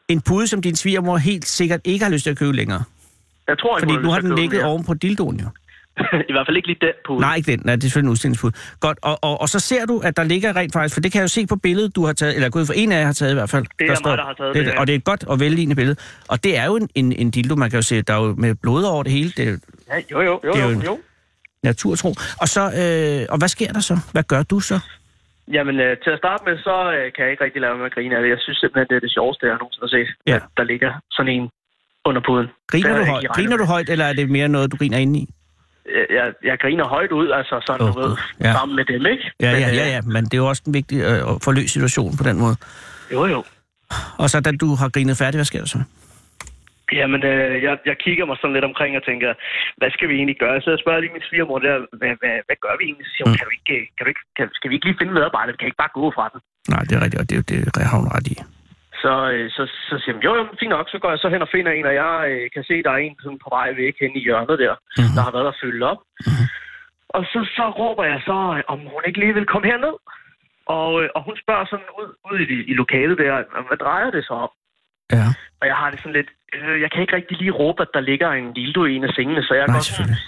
Speaker 2: En pude, som din svigermor helt sikkert ikke har lyst til at købe længere.
Speaker 6: Jeg tror ikke,
Speaker 2: Fordi
Speaker 6: hun
Speaker 2: nu har
Speaker 6: lyst til
Speaker 2: den
Speaker 6: at købe
Speaker 2: ligget
Speaker 6: mere.
Speaker 2: oven på dildoen jo.
Speaker 6: I hvert fald ikke lige den pude.
Speaker 2: Nej, ikke den. Nej, det er selvfølgelig en udstillingspude. Godt, og, og, og så ser du, at der ligger rent faktisk, for det kan jeg jo se på billedet, du har taget, eller gået for en af jer har taget i hvert fald.
Speaker 6: er
Speaker 2: der
Speaker 6: mig, der har
Speaker 2: det,
Speaker 6: taget billedet.
Speaker 2: Og det er et godt og velligende billede. Og det er jo en, en, en dildo, man kan jo se, der er jo med blod over det hele. Det er jo
Speaker 6: Ja, jo, jo, jo,
Speaker 2: Det er
Speaker 6: jo,
Speaker 2: jo en-
Speaker 6: jo.
Speaker 2: naturtro. Og, så, øh, og hvad sker der så? Hvad gør du så?
Speaker 6: Jamen, øh, til at starte med, så øh, kan jeg ikke rigtig lade være med at grine af det. Jeg synes simpelthen, det er det sjoveste, jeg nogensinde har set.
Speaker 2: Ja.
Speaker 6: At der ligger sådan en under puden. Det
Speaker 2: Griner,
Speaker 6: havde
Speaker 2: du
Speaker 6: jeg
Speaker 2: højt,
Speaker 6: ikke regnet
Speaker 2: griner du højt, eller er det mere noget, du griner ind i?
Speaker 6: jeg, jeg- jeg griner højt ud, altså sådan,
Speaker 2: Åh,
Speaker 6: du ved,
Speaker 2: Gud. Ja.
Speaker 6: ja. sammen med dem, ikke?
Speaker 2: Ja,
Speaker 6: Men,
Speaker 2: ja,
Speaker 6: øh,
Speaker 2: ja, ja, men det er jo også en vigtig øh, at forløse situation på den måde.
Speaker 6: Jo, jo.
Speaker 2: Og så da du har grinet færdig, hvad sker der så?
Speaker 6: Jamen, øh, jeg, jeg kigger mig sådan lidt omkring og tænker, hvad skal vi egentlig gøre? Så jeg spørger lige min svigermor der, hvad, hvad, hvad gør vi egentlig? Så
Speaker 2: Mm.
Speaker 6: siger hun, kan du ikke, øh, kan du ikke, kan, skal vi ikke lige finde medarbejdere? Vi kan ikke bare gå fra den.
Speaker 2: Nej, det er rigtigt, og det, er jo det har hun ret i.
Speaker 6: Så, øh, så, så siger hun, jo, jo, fint nok, så går jeg så hen og finder en, og jeg øh, kan se, der er en sådan på vej væk hen i hjørnet der, mm-hmm. der har været der fyldt op. Mm-hmm. Og så, så råber jeg så, øh, om hun ikke lige vil komme herned. Og, øh, og hun spørger sådan ud, ud i, i lokalet der, hvad drejer det sig om?
Speaker 2: Ja.
Speaker 6: Og jeg har det sådan lidt, øh, jeg kan ikke rigtig lige råbe, at der ligger en dildo i en af sengene, så jeg
Speaker 2: Nej,
Speaker 6: går,
Speaker 2: selvfølgelig.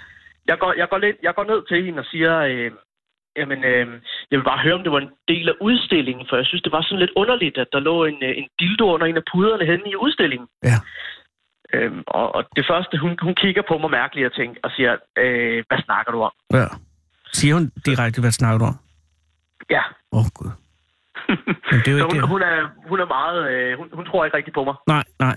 Speaker 6: jeg går, jeg går, lidt, jeg går ned til hende og siger, øh, jamen, øh, jeg vil bare høre, om det var en del af udstillingen, for jeg synes, det var sådan lidt underligt, at der lå en, øh, en dildo under en af puderne henne i udstillingen.
Speaker 2: Ja.
Speaker 6: Øhm, og, og det første, hun, hun kigger på mig mærkeligt og tænker, og siger, øh, hvad snakker du om?
Speaker 2: ja. Siger hun direkte, hvad snakker du om?
Speaker 6: Ja.
Speaker 2: Åh, oh, Gud. Men det er jo
Speaker 6: Så
Speaker 2: ikke
Speaker 6: hun,
Speaker 2: det.
Speaker 6: hun, er, hun er meget, øh, hun, hun tror ikke rigtig på mig.
Speaker 2: Nej, nej.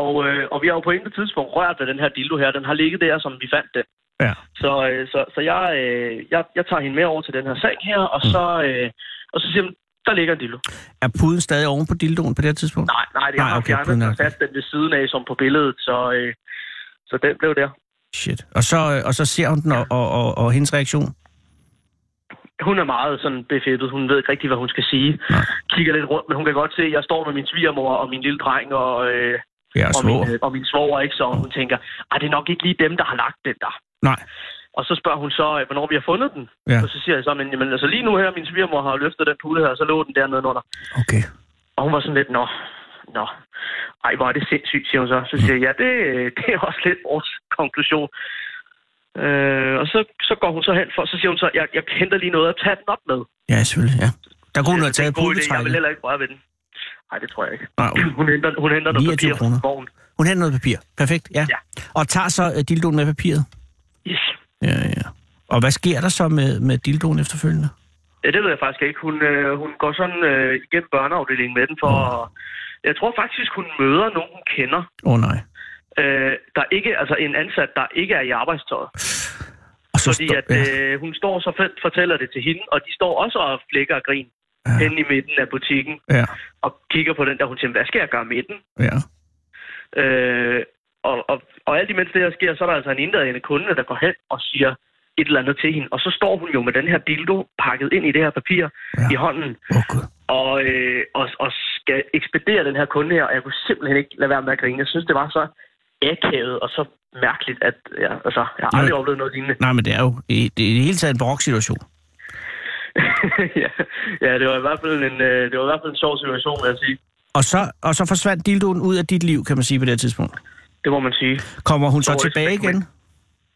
Speaker 6: Og, øh, og vi har jo på intet tidspunkt rørt ved den her dildo her. Den har ligget der, som vi fandt den.
Speaker 2: Ja.
Speaker 6: Så, øh, så, så jeg, øh, jeg, jeg tager hende med over til den her sag her, og
Speaker 2: Mm.
Speaker 6: så, øh, og så siger hun, der ligger en dildo.
Speaker 2: Er puden stadig oven på dildoen på det her tidspunkt?
Speaker 6: Nej, nej, det
Speaker 2: Nej,
Speaker 6: er
Speaker 2: okay,
Speaker 6: okay,
Speaker 2: fint
Speaker 6: fjernet
Speaker 2: nok.
Speaker 6: og sat den ved siden af, som på billedet, så, øh, så den blev der.
Speaker 2: Shit. Og så, øh, og så ser hun den, og, og, og, og hendes reaktion?
Speaker 6: Hun er meget sådan befættet. Hun ved ikke rigtig, hvad hun skal sige.
Speaker 2: Nej.
Speaker 6: Kigger lidt rundt, men hun kan godt se, at jeg står med min svigermor og min lille dreng og, øh,
Speaker 2: Ja, og
Speaker 6: og, min,
Speaker 2: svår.
Speaker 6: øh, og min svoger, ikke? Så hun tænker, at det er nok ikke lige dem, der har lagt den der.
Speaker 2: Nej.
Speaker 6: Og så spørger hun så, øh, hvornår vi har fundet den.
Speaker 2: Ja.
Speaker 6: Og så siger jeg så, men jamen, altså, lige nu her, min svigermor har løftet den pude her, og så lå den dernede under.
Speaker 2: Okay.
Speaker 6: Og hun var sådan lidt, nå, nå, ej, hvor er det sindssygt, siger hun så. Så siger jeg, ja, det, øh, det er også lidt vores konklusion. Øh, og så, så går hun så hen for, så siger hun så, jeg, jeg henter lige noget at tage den op med.
Speaker 2: Ja, selvfølgelig, ja. Der kunne hun have
Speaker 6: Altså, det er
Speaker 2: taget
Speaker 6: en god idé. Jeg vil
Speaker 2: pudetrækket.
Speaker 6: heller ikke røre ved den. Nej, det tror jeg ikke.
Speaker 2: Nej, okay.
Speaker 6: Hun henter, hun henter noget
Speaker 2: 29
Speaker 6: papir
Speaker 2: kroner.
Speaker 6: fra vognen.
Speaker 2: Hun henter noget papir. Perfekt, ja.
Speaker 6: Ja.
Speaker 2: Og tager så øh, dildoen med papiret.
Speaker 6: Yes.
Speaker 2: Ja, ja. Og hvad sker der så med, med dildoen efterfølgende?
Speaker 6: Ja, det ved jeg faktisk ikke. Hun, øh, hun går sådan øh, igennem børneafdelingen med den for... Mm. Jeg tror faktisk, hun møder nogen, hun kender,
Speaker 2: Åh oh, nej.
Speaker 6: øh, der ikke, altså en ansat, der ikke er i arbejdstøjet.
Speaker 2: Og så
Speaker 6: Fordi
Speaker 2: står-
Speaker 6: at øh, hun står så felt, fortæller det til hende, og de står også og flækker og grin
Speaker 2: Ja.
Speaker 6: ja. hen i midten af butikken
Speaker 2: ja,
Speaker 6: og kigger på den der. Hun tænker, hvad skal jeg gøre med den?
Speaker 2: ja,
Speaker 6: Øh, og, og, og alt imens det her sker, så er der altså en indadende kunde, der går hen og siger et eller andet til hende. Og så står hun jo med den her dildo pakket ind i det her papir
Speaker 2: Ja.
Speaker 6: ja. i hånden,
Speaker 2: Åh oh, gud.
Speaker 6: og, øh, og, og skal ekspedere den her kunde her, og jeg kunne simpelthen ikke lade være med at grine. Jeg synes, det var så akavet og så mærkeligt, at ja, altså, jeg har aldrig
Speaker 2: Nej.
Speaker 6: oplevet noget lignende.
Speaker 2: Nej, men det er jo i- det er i det hele taget en baroksituation.
Speaker 6: ja, ja, det var i hvert fald en, øh, det var i hvert fald en sjov situation, vil jeg sige.
Speaker 2: Og så, og så forsvandt dildoen ud af dit liv, kan man sige på det her tidspunkt.
Speaker 6: Det må man sige.
Speaker 2: Kommer hun så
Speaker 6: Dårligt
Speaker 2: tilbage
Speaker 6: eksperiment.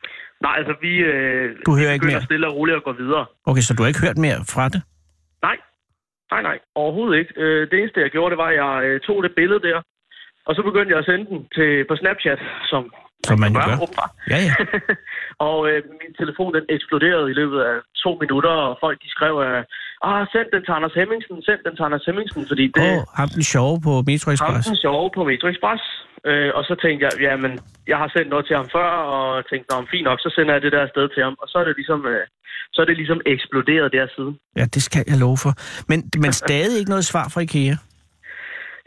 Speaker 2: igen?
Speaker 6: Nej, altså vi, øh,
Speaker 2: Du hører
Speaker 6: vi
Speaker 2: ikke
Speaker 6: begynder
Speaker 2: mere?
Speaker 6: stille og roligt at gå videre.
Speaker 2: Okay, så du har ikke hørt mere fra det?
Speaker 6: Nej, nej, nej, overhovedet ikke. Øh, det eneste, jeg gjorde, det var, at jeg øh, tog det billede der, og så begyndte jeg at sende den til, på Snapchat, som
Speaker 2: Som man jo gør.
Speaker 6: åbenbart.
Speaker 2: Ja, ja.
Speaker 6: og øh, min telefon den eksploderede i løbet af to minutter, og folk de skrev, øh, ah, send den til Anders Hemmingsen, send den til Anders Hemmingsen, fordi det
Speaker 2: Åh,
Speaker 6: er
Speaker 2: oh, ham den sjove på Metro
Speaker 6: ham
Speaker 2: Express.
Speaker 6: den sjove på Metro Express. Øh, og så tænkte jeg, jamen, jeg har sendt noget til ham før, og tænkte, nå, men fint nok, så sender jeg det der afsted til ham. Og så er det ligesom, øh, så er det ligesom eksploderet der siden.
Speaker 2: Ja, det skal jeg love for. Men, men stadig ikke noget svar fra IKEA.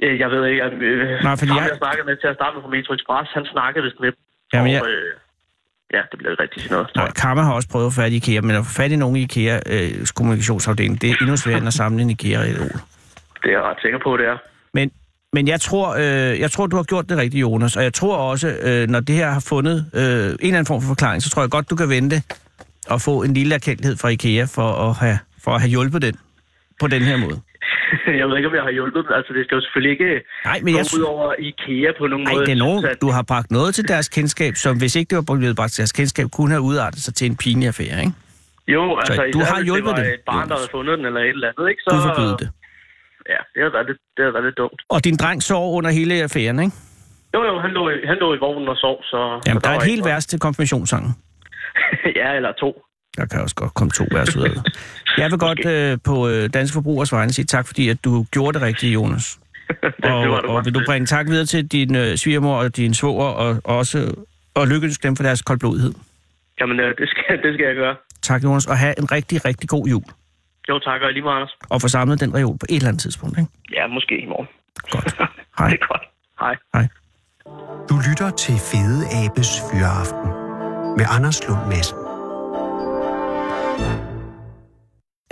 Speaker 6: Øh, jeg ved ikke, at, øh,
Speaker 2: Nej, fordi
Speaker 6: ham,
Speaker 2: jeg-
Speaker 6: jeg... snakkede med til at starte med på Metro Express, han snakkede vist med dem.
Speaker 2: Jamen,
Speaker 6: og,
Speaker 2: jeg-
Speaker 6: øh, ja, det blev ikke rigtig sådan noget. tror
Speaker 2: Nej,
Speaker 6: jeg.
Speaker 2: Karma har også prøvet at få fat i IKEA, men at få fat i nogen i IKEA øh, kommunikationsafdeling, det er endnu sværere end at samle en IKEA i et ord.
Speaker 6: Det er jeg ret sikker på, det er.
Speaker 2: Men, men jeg, tror, øh, jeg tror, du har gjort det rigtigt, Jonas. Og jeg tror også, øh, når det her har fundet øh, en eller anden form for forklaring, så tror jeg godt, du kan vente og få en lille erkendelighed fra IKEA for at have, for at have hjulpet den på den her måde.
Speaker 6: jeg ved ikke, om jeg har hjulpet dem. Altså, det skal jo selvfølgelig ikke
Speaker 2: Nej, men
Speaker 6: men
Speaker 2: jeg...
Speaker 6: jeg...
Speaker 2: sy-
Speaker 6: gå ud over IKEA på nogen
Speaker 2: Ej,
Speaker 6: måde. Altså,
Speaker 2: det er nogen,
Speaker 6: Så-
Speaker 2: du har bragt noget til deres kendskab, som hvis ikke det var blevet bragt til deres kendskab, kunne have udartet sig til en pinlig affære, ikke?
Speaker 6: Jo, altså,
Speaker 2: du
Speaker 6: især
Speaker 2: har
Speaker 6: hvis
Speaker 2: hjulpet
Speaker 6: det var
Speaker 2: dem,
Speaker 6: et barn, der
Speaker 2: Jonas.
Speaker 6: havde fundet den eller et eller andet, ikke? Så,
Speaker 2: Du forbyder det.
Speaker 6: Ja, det havde været lidt, det havde været lidt dumt.
Speaker 2: Og din dreng sov under hele affæren, ikke?
Speaker 6: Jo, jo, han lå, i- han lå i vognen og sov, så...
Speaker 2: Jamen,
Speaker 6: så
Speaker 2: der er
Speaker 6: var
Speaker 2: et
Speaker 6: ikke
Speaker 2: helt
Speaker 6: noget.
Speaker 2: vers til konfirmationssangen.
Speaker 6: ja, eller to.
Speaker 2: Der kan også godt komme to vers ud af det. Jeg vil godt øh, på øh, Danske Forbrugers vegne sige tak, fordi at du gjorde det rigtige, Jonas. og,
Speaker 6: var du
Speaker 2: og
Speaker 6: godt
Speaker 2: vil du
Speaker 6: til.
Speaker 2: bringe tak videre til din øh, svigermor og din svoger, og, og også og lykkeønske dem for deres koldblodighed.
Speaker 6: Jamen, øh, det skal, det skal jeg gøre.
Speaker 2: Tak, Jonas, og have en rigtig, rigtig god jul.
Speaker 6: Jo, tak, og i lige meget, Anders.
Speaker 2: Og få samlet den reol på et eller andet tidspunkt. Ikke?
Speaker 6: Ja, måske i morgen.
Speaker 2: Godt. Hej.
Speaker 6: Det er godt. Hej.
Speaker 2: Hej.
Speaker 4: Du lytter til Fede Abes Fyraften med Anders Lund Madsen.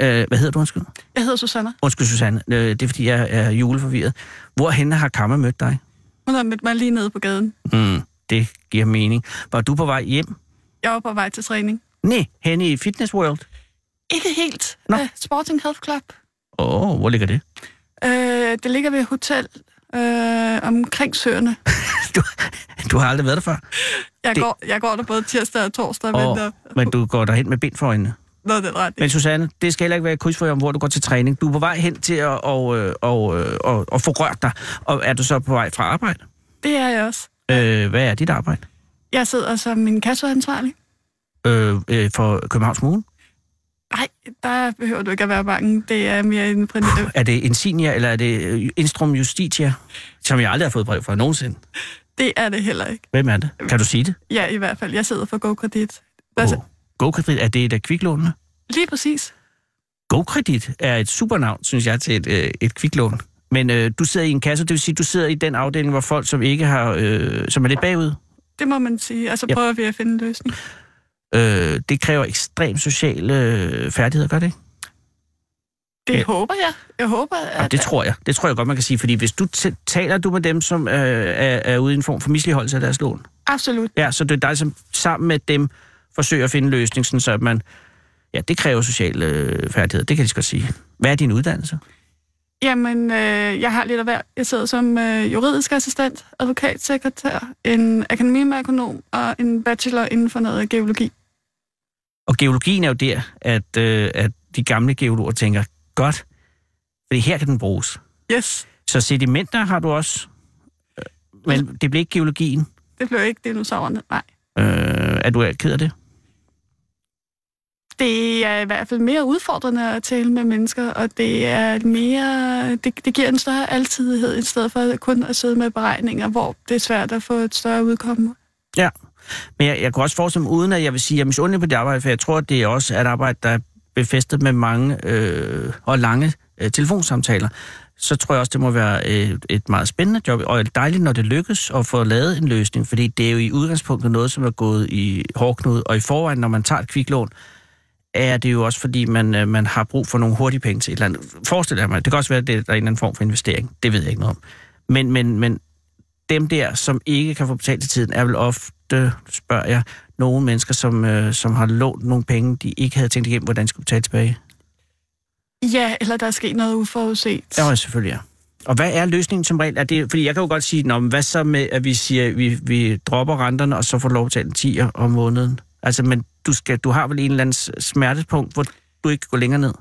Speaker 2: Øh, hvad hedder du, undskyld?
Speaker 7: Jeg hedder Susanna.
Speaker 2: Undskyld, Susanne. Øh, det er, fordi jeg er juleforvirret. Hvorhen har Kammer mødt dig?
Speaker 7: Hun har mødt mig lige nede på gaden.
Speaker 2: Mm, det giver mening. Var du på vej hjem?
Speaker 7: Jeg var på vej til træning.
Speaker 2: Nej, henne i Fitness World.
Speaker 7: Ikke helt.
Speaker 2: Nå.
Speaker 7: Øh, Sporting Health Club.
Speaker 2: Åh, oh, hvor ligger det?
Speaker 7: Øh, det ligger ved et hotel øh, omkring søerne.
Speaker 2: Du, du har aldrig været der før.
Speaker 7: Jeg,
Speaker 2: Det-
Speaker 7: det... går, jeg går der både tirsdag og torsdag, oh.
Speaker 2: Og,
Speaker 7: men, øh,
Speaker 2: men du går derhen med bind for øjnene.
Speaker 7: noget den retning.
Speaker 2: Men Susanne, det skal heller ikke være et kryds for jer, om, hvor du går til træning. Du er på vej hen til at og, øh, og, øh, og, og få rørt dig. Og er du så på vej fra arbejde?
Speaker 7: Det er jeg også.
Speaker 2: Øh, hvad er dit arbejde?
Speaker 7: Jeg sidder som min kasseansvarlig.
Speaker 2: Øh, øh, for Københavns Kommune?
Speaker 7: Nej, der behøver du ikke at være bange. Det er mere en print.
Speaker 2: Er det Insignia, eller er det øh, Instrum Justitia? Som jeg aldrig har fået brev fra nogensinde.
Speaker 7: Det er det heller ikke.
Speaker 2: Hvem er det? Kan du sige det?
Speaker 7: Ja, i hvert fald. Jeg sidder for GoKredit. Altså,
Speaker 2: Oh. GoKredit, er det et af kviklånene?
Speaker 7: lige præcis.
Speaker 2: GoKredit er et supernavn, synes jeg, til et, øh, et kviklån. Men øh, du sidder i en kasse, det vil sige, du sidder i den afdeling, hvor folk, som ikke har, øh, som er lidt bagud,
Speaker 7: Det må man sige. Og så
Speaker 2: Ja.
Speaker 7: prøver vi at finde en løsning.
Speaker 2: øh, det kræver ekstremt sociale øh, færdigheder, gør det ikke?
Speaker 7: Det
Speaker 2: Ja.
Speaker 7: håber jeg. Jeg håber, at...
Speaker 2: Jamen, det tror jeg. Det tror jeg godt, man kan sige. Fordi hvis du t- taler du med dem, som øh, er, er ude i en form for misligeholdelse af deres lån,
Speaker 7: Absolut.
Speaker 2: ja, så det er dig, som sammen med dem forsøger at finde en løsning, sådan så at man... Ja, det kræver sociale øh, færdigheder, det kan de godt sige. Hvad er din uddannelse?
Speaker 7: Jamen, øh, jeg har lidt af hver. Jeg sidder som øh, juridisk assistent, advokatsekretær, en akademimerkonom og en bachelor inden for noget geologi.
Speaker 2: Og geologien er jo der, at, øh, at de gamle geologer tænker, godt, fordi her kan den bruges.
Speaker 7: Yes,
Speaker 2: Så sedimenter har du også, øh, men det blev ikke geologien.
Speaker 7: det blev ikke dinosaurerne. Nej,
Speaker 2: Øh, er du ked af det?
Speaker 7: det er i hvert fald mere udfordrende at tale med mennesker, og det er mere, det, det giver en større altidighed, i stedet for kun at sidde med beregninger, hvor det er svært at få et større udkomme.
Speaker 2: Ja. Men jeg, jeg kunne også forestille mig, uden at jeg vil sige, at jeg er misundelig på det arbejde, for jeg tror, at det er også er et arbejde, der er befæstet med mange øh, og lange øh, telefonsamtaler. Så tror jeg også, det må være øh, et meget spændende job, og dejligt, når det lykkes at få lavet en løsning, fordi det er jo i udgangspunktet noget, som er gået i hårdknud, og i forvejen, når man tager et kviklån, er det jo også, fordi man, øh, man har brug for nogle hurtige penge til et eller andet. Forestil dig mig, det kan også være, at det er der er en eller anden form for investering. Det ved jeg ikke noget om. Men, men, men dem der, som ikke kan få betalt til tiden, er vel ofte, spørger jeg, nogle mennesker, som, øh, som har lånt nogle penge, de ikke havde tænkt igennem, hvordan de skulle betale tilbage.
Speaker 7: Ja, eller der er sket noget uforudset.
Speaker 2: Ja, selvfølgelig, ja. Og hvad er løsningen som regel? Er det, fordi jeg kan jo godt sige, Nå, men hvad så med, at vi siger, vi, vi dropper renterne, og så får du lov at betale en 10'er om måneden? Altså, men du, skal, du har vel en eller anden s- smertepunkt, hvor du ikke går længere ned?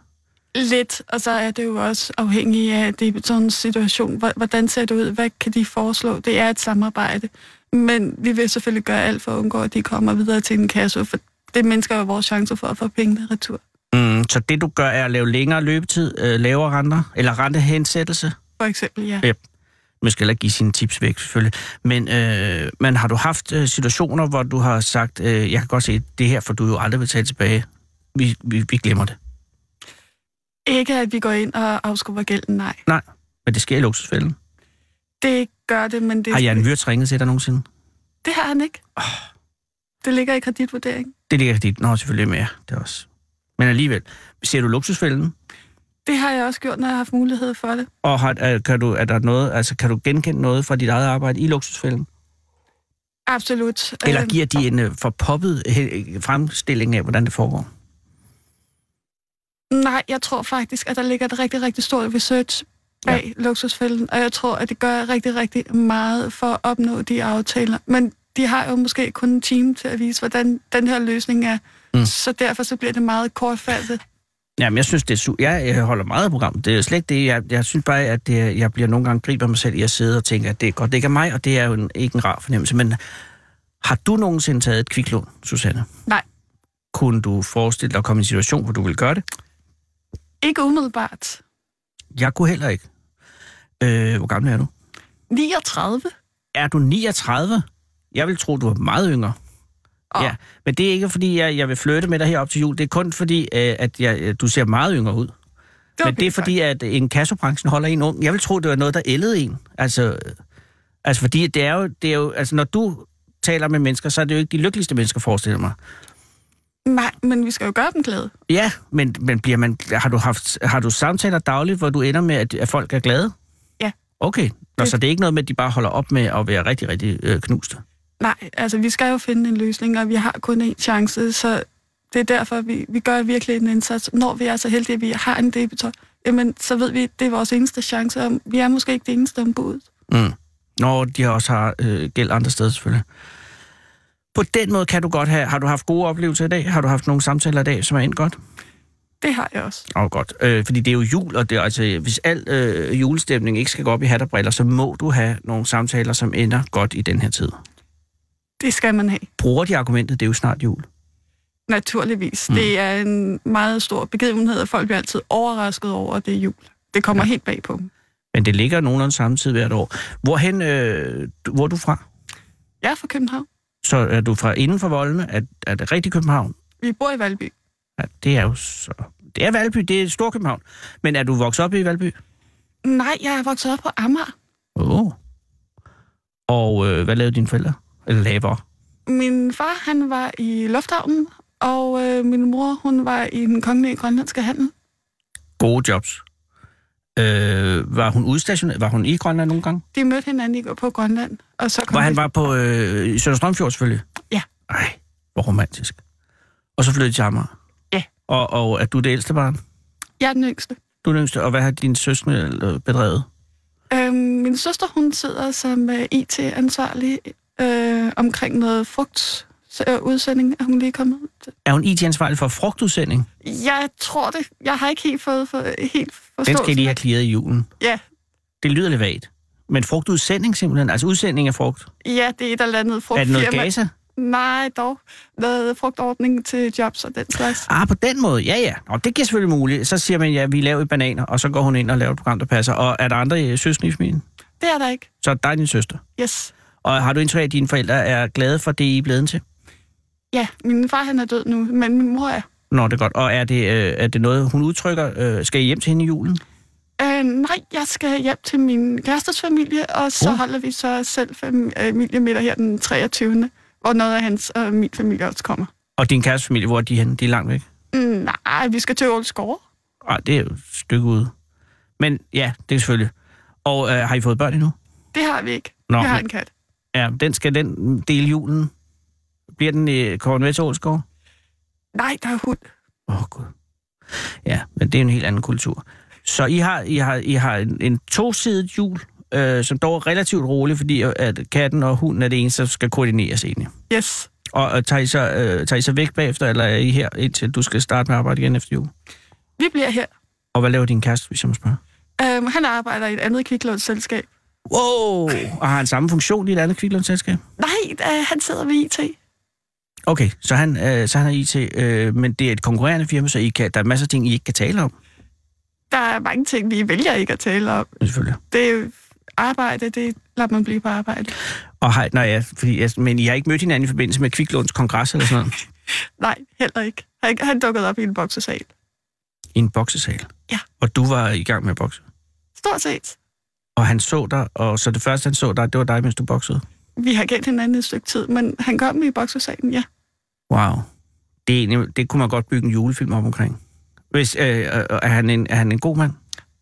Speaker 7: Lidt, og så er det jo også afhængigt af det, sådan en situation. Hvor- Hvordan ser det ud? Hvad kan de foreslå? Det er et samarbejde. Men vi vil selvfølgelig gøre alt for at undgå, at de kommer videre til en kasse, for det mindsker jo vores chancer for at få pengene retur.
Speaker 2: Mm, så det, du gør, er at lave længere løbetid, øh, lavere renter, eller rentehensættelse?
Speaker 7: For eksempel, ja.
Speaker 2: man skal heller ikke give sine tips væk, selvfølgelig. Men, øh, men har du haft øh, situationer, hvor du har sagt, øh, jeg kan godt se, det her får du jo aldrig betalt tilbage. Vi, vi, vi glemmer det.
Speaker 7: Ikke at vi går ind og afskubber gælden, nej.
Speaker 2: Nej, men det sker i luksusfælden.
Speaker 7: Det gør det, men det...
Speaker 2: Har Jan Ah. Wirtz ringet til dig nogensinde?
Speaker 7: Det har han ikke. Det ligger i kreditvurdering.
Speaker 2: Det ligger dit. Nå, selvfølgelig mere. Det er også. Men alligevel, ser du luksusfælden?
Speaker 7: Det har jeg også gjort, når jeg har haft mulighed for det.
Speaker 2: Og har, er, kan, du, er der noget, altså, kan du genkende noget fra dit eget arbejde i luksusfælden?
Speaker 7: Absolut.
Speaker 2: Eller
Speaker 7: Øhm,
Speaker 2: giver de en øh, for poppet øh, fremstilling af, hvordan det foregår?
Speaker 7: Nej, jeg tror faktisk, at der ligger et rigtig, rigtig stort research bag ja. luksusfælden, og jeg tror, at det gør rigtig, rigtig meget for at opnå de aftaler. Men de har jo måske kun en time til at vise, hvordan den her løsning er.
Speaker 2: Mm.
Speaker 7: Mm. Så derfor så bliver det meget kortfattet.
Speaker 2: Jamen, jeg synes, det er su- jeg, jeg holder meget af programmet. Det er slet ikke det. Jeg, jeg synes bare, at det, er- jeg bliver nogle gange griber mig selv i at sidde og tænke, at det er godt, det ikke er mig, og det er jo en, ikke en rar fornemmelse. Men har du nogensinde taget et kviklån, Susanne?
Speaker 7: Nej.
Speaker 2: Kunne du forestille dig at komme i en situation, hvor du ville gøre det?
Speaker 7: Ikke umiddelbart.
Speaker 2: Jeg kunne heller ikke. Øh, hvor gammel er du?
Speaker 7: 39?
Speaker 2: Er du 39? Jeg vil tro, du er meget yngre.
Speaker 7: Åh.
Speaker 2: Ja, men det er ikke, fordi jeg, jeg vil flytte med dig her op til jul. Det er kun fordi, øh, at jeg, øh, du ser meget yngre ud.
Speaker 7: Det var
Speaker 2: Men det er
Speaker 7: pænt sagt.
Speaker 2: fordi, at en kassobranchen holder en ung. Jeg vil tro, det var noget, der ældede en. Altså, Altså, fordi det er jo, det er jo altså, når du taler med mennesker, så er det jo ikke de lykkeligste mennesker, forestiller jeg mig.
Speaker 7: Nej, men vi skal jo gøre dem glade.
Speaker 2: Ja, men, men bliver man, har, du haft, har du samtaler dagligt, hvor du ender med, at, at folk er glade?
Speaker 7: Ja.
Speaker 2: Okay. Nå,
Speaker 7: Det-
Speaker 2: så det er ikke noget med, at de bare holder op med at være rigtig, rigtig øh, knuste.
Speaker 7: Nej, altså vi skal jo finde en løsning, og vi har kun én chance, så det er derfor, vi, vi gør virkelig en indsats. Når vi er så heldige, at vi har en debitor, jamen så ved vi, at det er vores eneste chance, og vi er måske ikke det eneste ombud.
Speaker 2: Mm. Når de også har øh, gæld andre steder, selvfølgelig. På den måde kan du godt have... Har du haft gode oplevelser i dag? Har du haft nogle samtaler i dag, som er endt godt?
Speaker 7: Det har jeg også.
Speaker 2: Åh, oh, godt. Øh, fordi det er jo jul, og det er, altså, hvis al øh, julestemning ikke skal gå op i hat og briller, så må du have nogle samtaler, som ender godt i den her tid.
Speaker 7: Det skal man have.
Speaker 2: Bruger de argumentet, det er jo snart jul.
Speaker 7: Naturligvis. Mm. Det er en meget stor begivenhed, og folk bliver altid overrasket over, at det er jul. Det kommer ja. helt bag på dem.
Speaker 2: Men det ligger nogenlunde samtidig hvert år. Hvorhen, øh, du- hvor er du fra?
Speaker 7: Jeg er fra København.
Speaker 2: Så er du fra inden for voldene? Er, er det rigtig København?
Speaker 7: Vi bor i Valby.
Speaker 2: Ja, det er jo så... Det er Valby, det er Storkøbenhavn. Men er du vokset op i Valby?
Speaker 7: Nej, jeg er vokset op på Amager.
Speaker 2: Åh. Oh. Og øh, hvad lavede dine forældre? Eller lavere?
Speaker 7: Min far, han var i lufthavnen, og øh, min mor, hun var i den kongelige grønlandske handel.
Speaker 2: Gode jobs. Øh, var hun udstationeret? Var hun i Grønland nogle gange?
Speaker 7: De mødte hinanden i går på Grønland, og så kom
Speaker 2: Hvor han
Speaker 7: de-
Speaker 2: var på øh, i Sønder Strømfjord selvfølgelig?
Speaker 7: Ja.
Speaker 2: Ej, hvor romantisk. Og så flyttede de til Amager?
Speaker 7: Ja.
Speaker 2: Og, og er du det ældste barn?
Speaker 7: Jeg er den yngste.
Speaker 2: Du er den yngste, og hvad har dine søskende øh, bedrevet?
Speaker 7: Øhm, min søster, hun sidder som øh, IT-ansvarlig øh, omkring noget frugt øh, udsending, er hun lige kommet ud til.
Speaker 2: Er hun IT-ansvarlig for frugtudsending?
Speaker 7: Jeg tror det. Jeg har ikke helt fået for, helt forstået.
Speaker 2: Den skal I lige have klaret i julen.
Speaker 7: Ja,
Speaker 2: Det lyder lidt vagt. Men frugtudsending simpelthen, altså udsending af frugt.
Speaker 7: ja, det er et eller andet frugtfirma.
Speaker 2: er det noget Gaza?
Speaker 7: Nej, dog. Noget frugtordning til jobs og den slags.
Speaker 2: Ah, på den måde, ja ja. Og det giver selvfølgelig muligt. Så siger man, ja, vi laver i bananer, og så går hun ind og laver et program, der passer. Og er der andre øh, søskende i familien?
Speaker 7: Det er der ikke.
Speaker 2: Så er det dig og din søster.
Speaker 7: Yes.
Speaker 2: Og har du indtryk af, at dine forældre er glade for det, I er blevet til?
Speaker 7: Ja, min far han er død nu, men min mor er.
Speaker 2: Nå, det er godt. Og er det, øh, er det noget, hun udtrykker? Øh, skal I hjem til hende i julen?
Speaker 7: Øh, nej, jeg skal hjem til min kærestes familie, og så
Speaker 2: Uh.
Speaker 7: uh. holder vi så selv øh, familiemiddag her den 23. Hvor noget af hans og min familie også kommer.
Speaker 2: Og din kæreste familie, hvor er de henne? De er langt væk.
Speaker 7: Mm, nej, vi skal til Ålsgårde.
Speaker 2: Ej, det er jo et stykke ude. Men ja, det er selvfølgelig. Og øh, har I fået børn endnu?
Speaker 7: Det har vi ikke.
Speaker 2: Nå,
Speaker 7: vi har
Speaker 2: men-
Speaker 7: en kat.
Speaker 2: Ja, den skal den dele julen. Bliver den øh, i Kåren Ålsgaard?
Speaker 7: Nej, der er hund.
Speaker 2: Åh, oh, gud. Ja, men det er en helt anden kultur. Så I har, I har, I har en, en tosidet jul, øh, som dog er relativt rolig, fordi at katten og hunden er det eneste, der skal koordineres egentlig.
Speaker 7: Yes.
Speaker 2: Og, og tager, I så, øh, tager I så væk bagefter, eller er I her, indtil du skal starte med at arbejde igen efter jul?
Speaker 7: Vi bliver her.
Speaker 2: Og hvad laver din kæreste, hvis jeg må spørge?
Speaker 7: Øhm, han arbejder i et andet kviklånsselskab.
Speaker 2: Wow! Og har han samme funktion i et andet kviklånsselskab?
Speaker 7: Nej, øh, han sidder ved IT.
Speaker 2: Okay, så han, øh, så han er IT, øh, men det er et konkurrerende firma, så I kan, der er masser af ting, I ikke kan tale om,
Speaker 7: Der er mange ting, vi vælger ikke at tale om.
Speaker 2: selvfølgelig.
Speaker 7: Det er jo arbejde, det lader man blive på arbejde.
Speaker 2: Og har, nej, ja, fordi, jeg, men I har ikke mødt hinanden i forbindelse med kviklåns kongres eller sådan noget?
Speaker 7: Nej, heller ikke. Han, han dukkede op i en boksesal.
Speaker 2: I en boksesal?
Speaker 7: Ja.
Speaker 2: Og du var i gang med at bokse?
Speaker 7: Stort set.
Speaker 2: Og han så dig, og så det første, han så dig, det var dig, mens du boksede?
Speaker 7: Vi har kendt hinanden et stykke tid, men han kom i boksesalen, ja.
Speaker 2: Wow. Det, er egentlig, det kunne man godt bygge en julefilm op omkring. Hvis, øh, øh, er, han en, er han en god mand?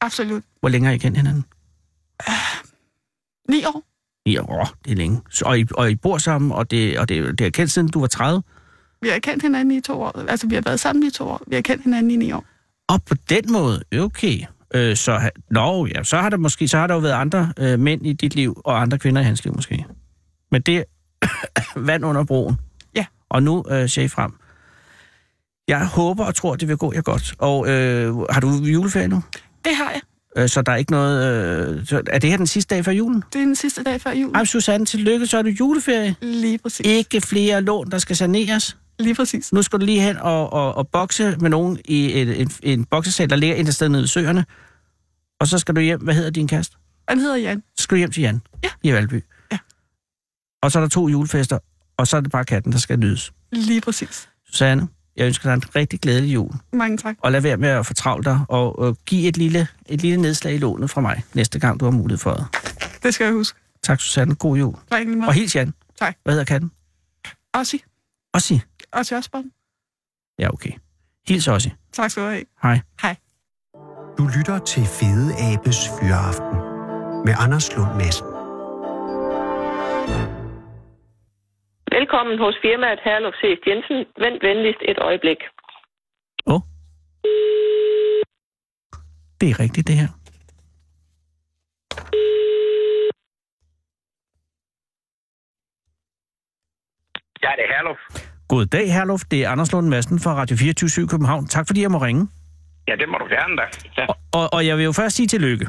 Speaker 7: Absolut.
Speaker 2: Hvor længe har I kendt hinanden?
Speaker 7: Ni år?
Speaker 2: Ja, åh, det er længe. Så, og, I, og I bor sammen, og det, og det, det er kendt siden du var 30.
Speaker 7: Vi har kendt hinanden i to år. Altså, vi har været sammen i to år. Vi har kendt hinanden i ni år.
Speaker 2: Og på den måde, okay. Øh, så, ha- nå, ja, så har der måske så har der jo været andre øh, mænd i dit liv, og andre kvinder i hans liv måske. Men det er vand under broen.
Speaker 7: Ja.
Speaker 2: Og nu øh, ser I frem. Jeg håber og tror, det vil gå jer godt. Og øh, har du juleferie nu?
Speaker 7: Det har jeg.
Speaker 2: Øh, så der er ikke noget... Øh, så er det her den sidste dag før julen?
Speaker 7: Det er den sidste dag før jul.
Speaker 2: Ej, Susanne, tillykke, så er du juleferie.
Speaker 7: Lige præcis.
Speaker 2: Ikke flere lån, der skal saneres.
Speaker 7: Lige præcis.
Speaker 2: Nu skal du lige hen og, og, og bokse med nogen i en, en, en boksesal, der ligger et eller andet sted nede i søerne. Og så skal du hjem. Hvad hedder din kæreste?
Speaker 7: Han hedder Jan.
Speaker 2: Så skal du hjem til Jan
Speaker 7: Ja.
Speaker 2: i Valby.
Speaker 7: Ja.
Speaker 2: Og så er der to julefester, og så er det bare katten, der skal nydes.
Speaker 7: Lige præcis.
Speaker 2: Susanne, jeg ønsker dig en rigtig glædelig jul.
Speaker 7: Mange tak.
Speaker 2: Og lad være med at fortravle dig, og, og giv et lille, et lille nedslag i lånet fra mig, næste gang du har mulighed for det.
Speaker 7: Det skal jeg huske.
Speaker 2: Tak, Susanne. God jul.
Speaker 7: Ring mig.
Speaker 2: Og hils Jan.
Speaker 7: Tak.
Speaker 2: Hvad hedder katten?
Speaker 7: Ossi.
Speaker 2: Ossi.
Speaker 7: Ossi Osborn.
Speaker 2: Ja, okay. Hils Ossi.
Speaker 7: Tak skal du have.
Speaker 2: Hej.
Speaker 4: Du lytter til Fede Abes Fyraften med Anders Lund Madsen.
Speaker 8: Velkommen hos firmaet Herluf C. Jensen. Vent venligst et øjeblik.
Speaker 2: Åh. Oh. Det er rigtigt, det her.
Speaker 6: Ja, det er Herluf.
Speaker 2: God dag, Herluf. Det er Anders Lund Madsen fra Radio 24 København. Tak fordi jeg må ringe.
Speaker 6: Ja, det må du gerne da. Ja.
Speaker 2: Og, og, og jeg vil jo først sige tillykke.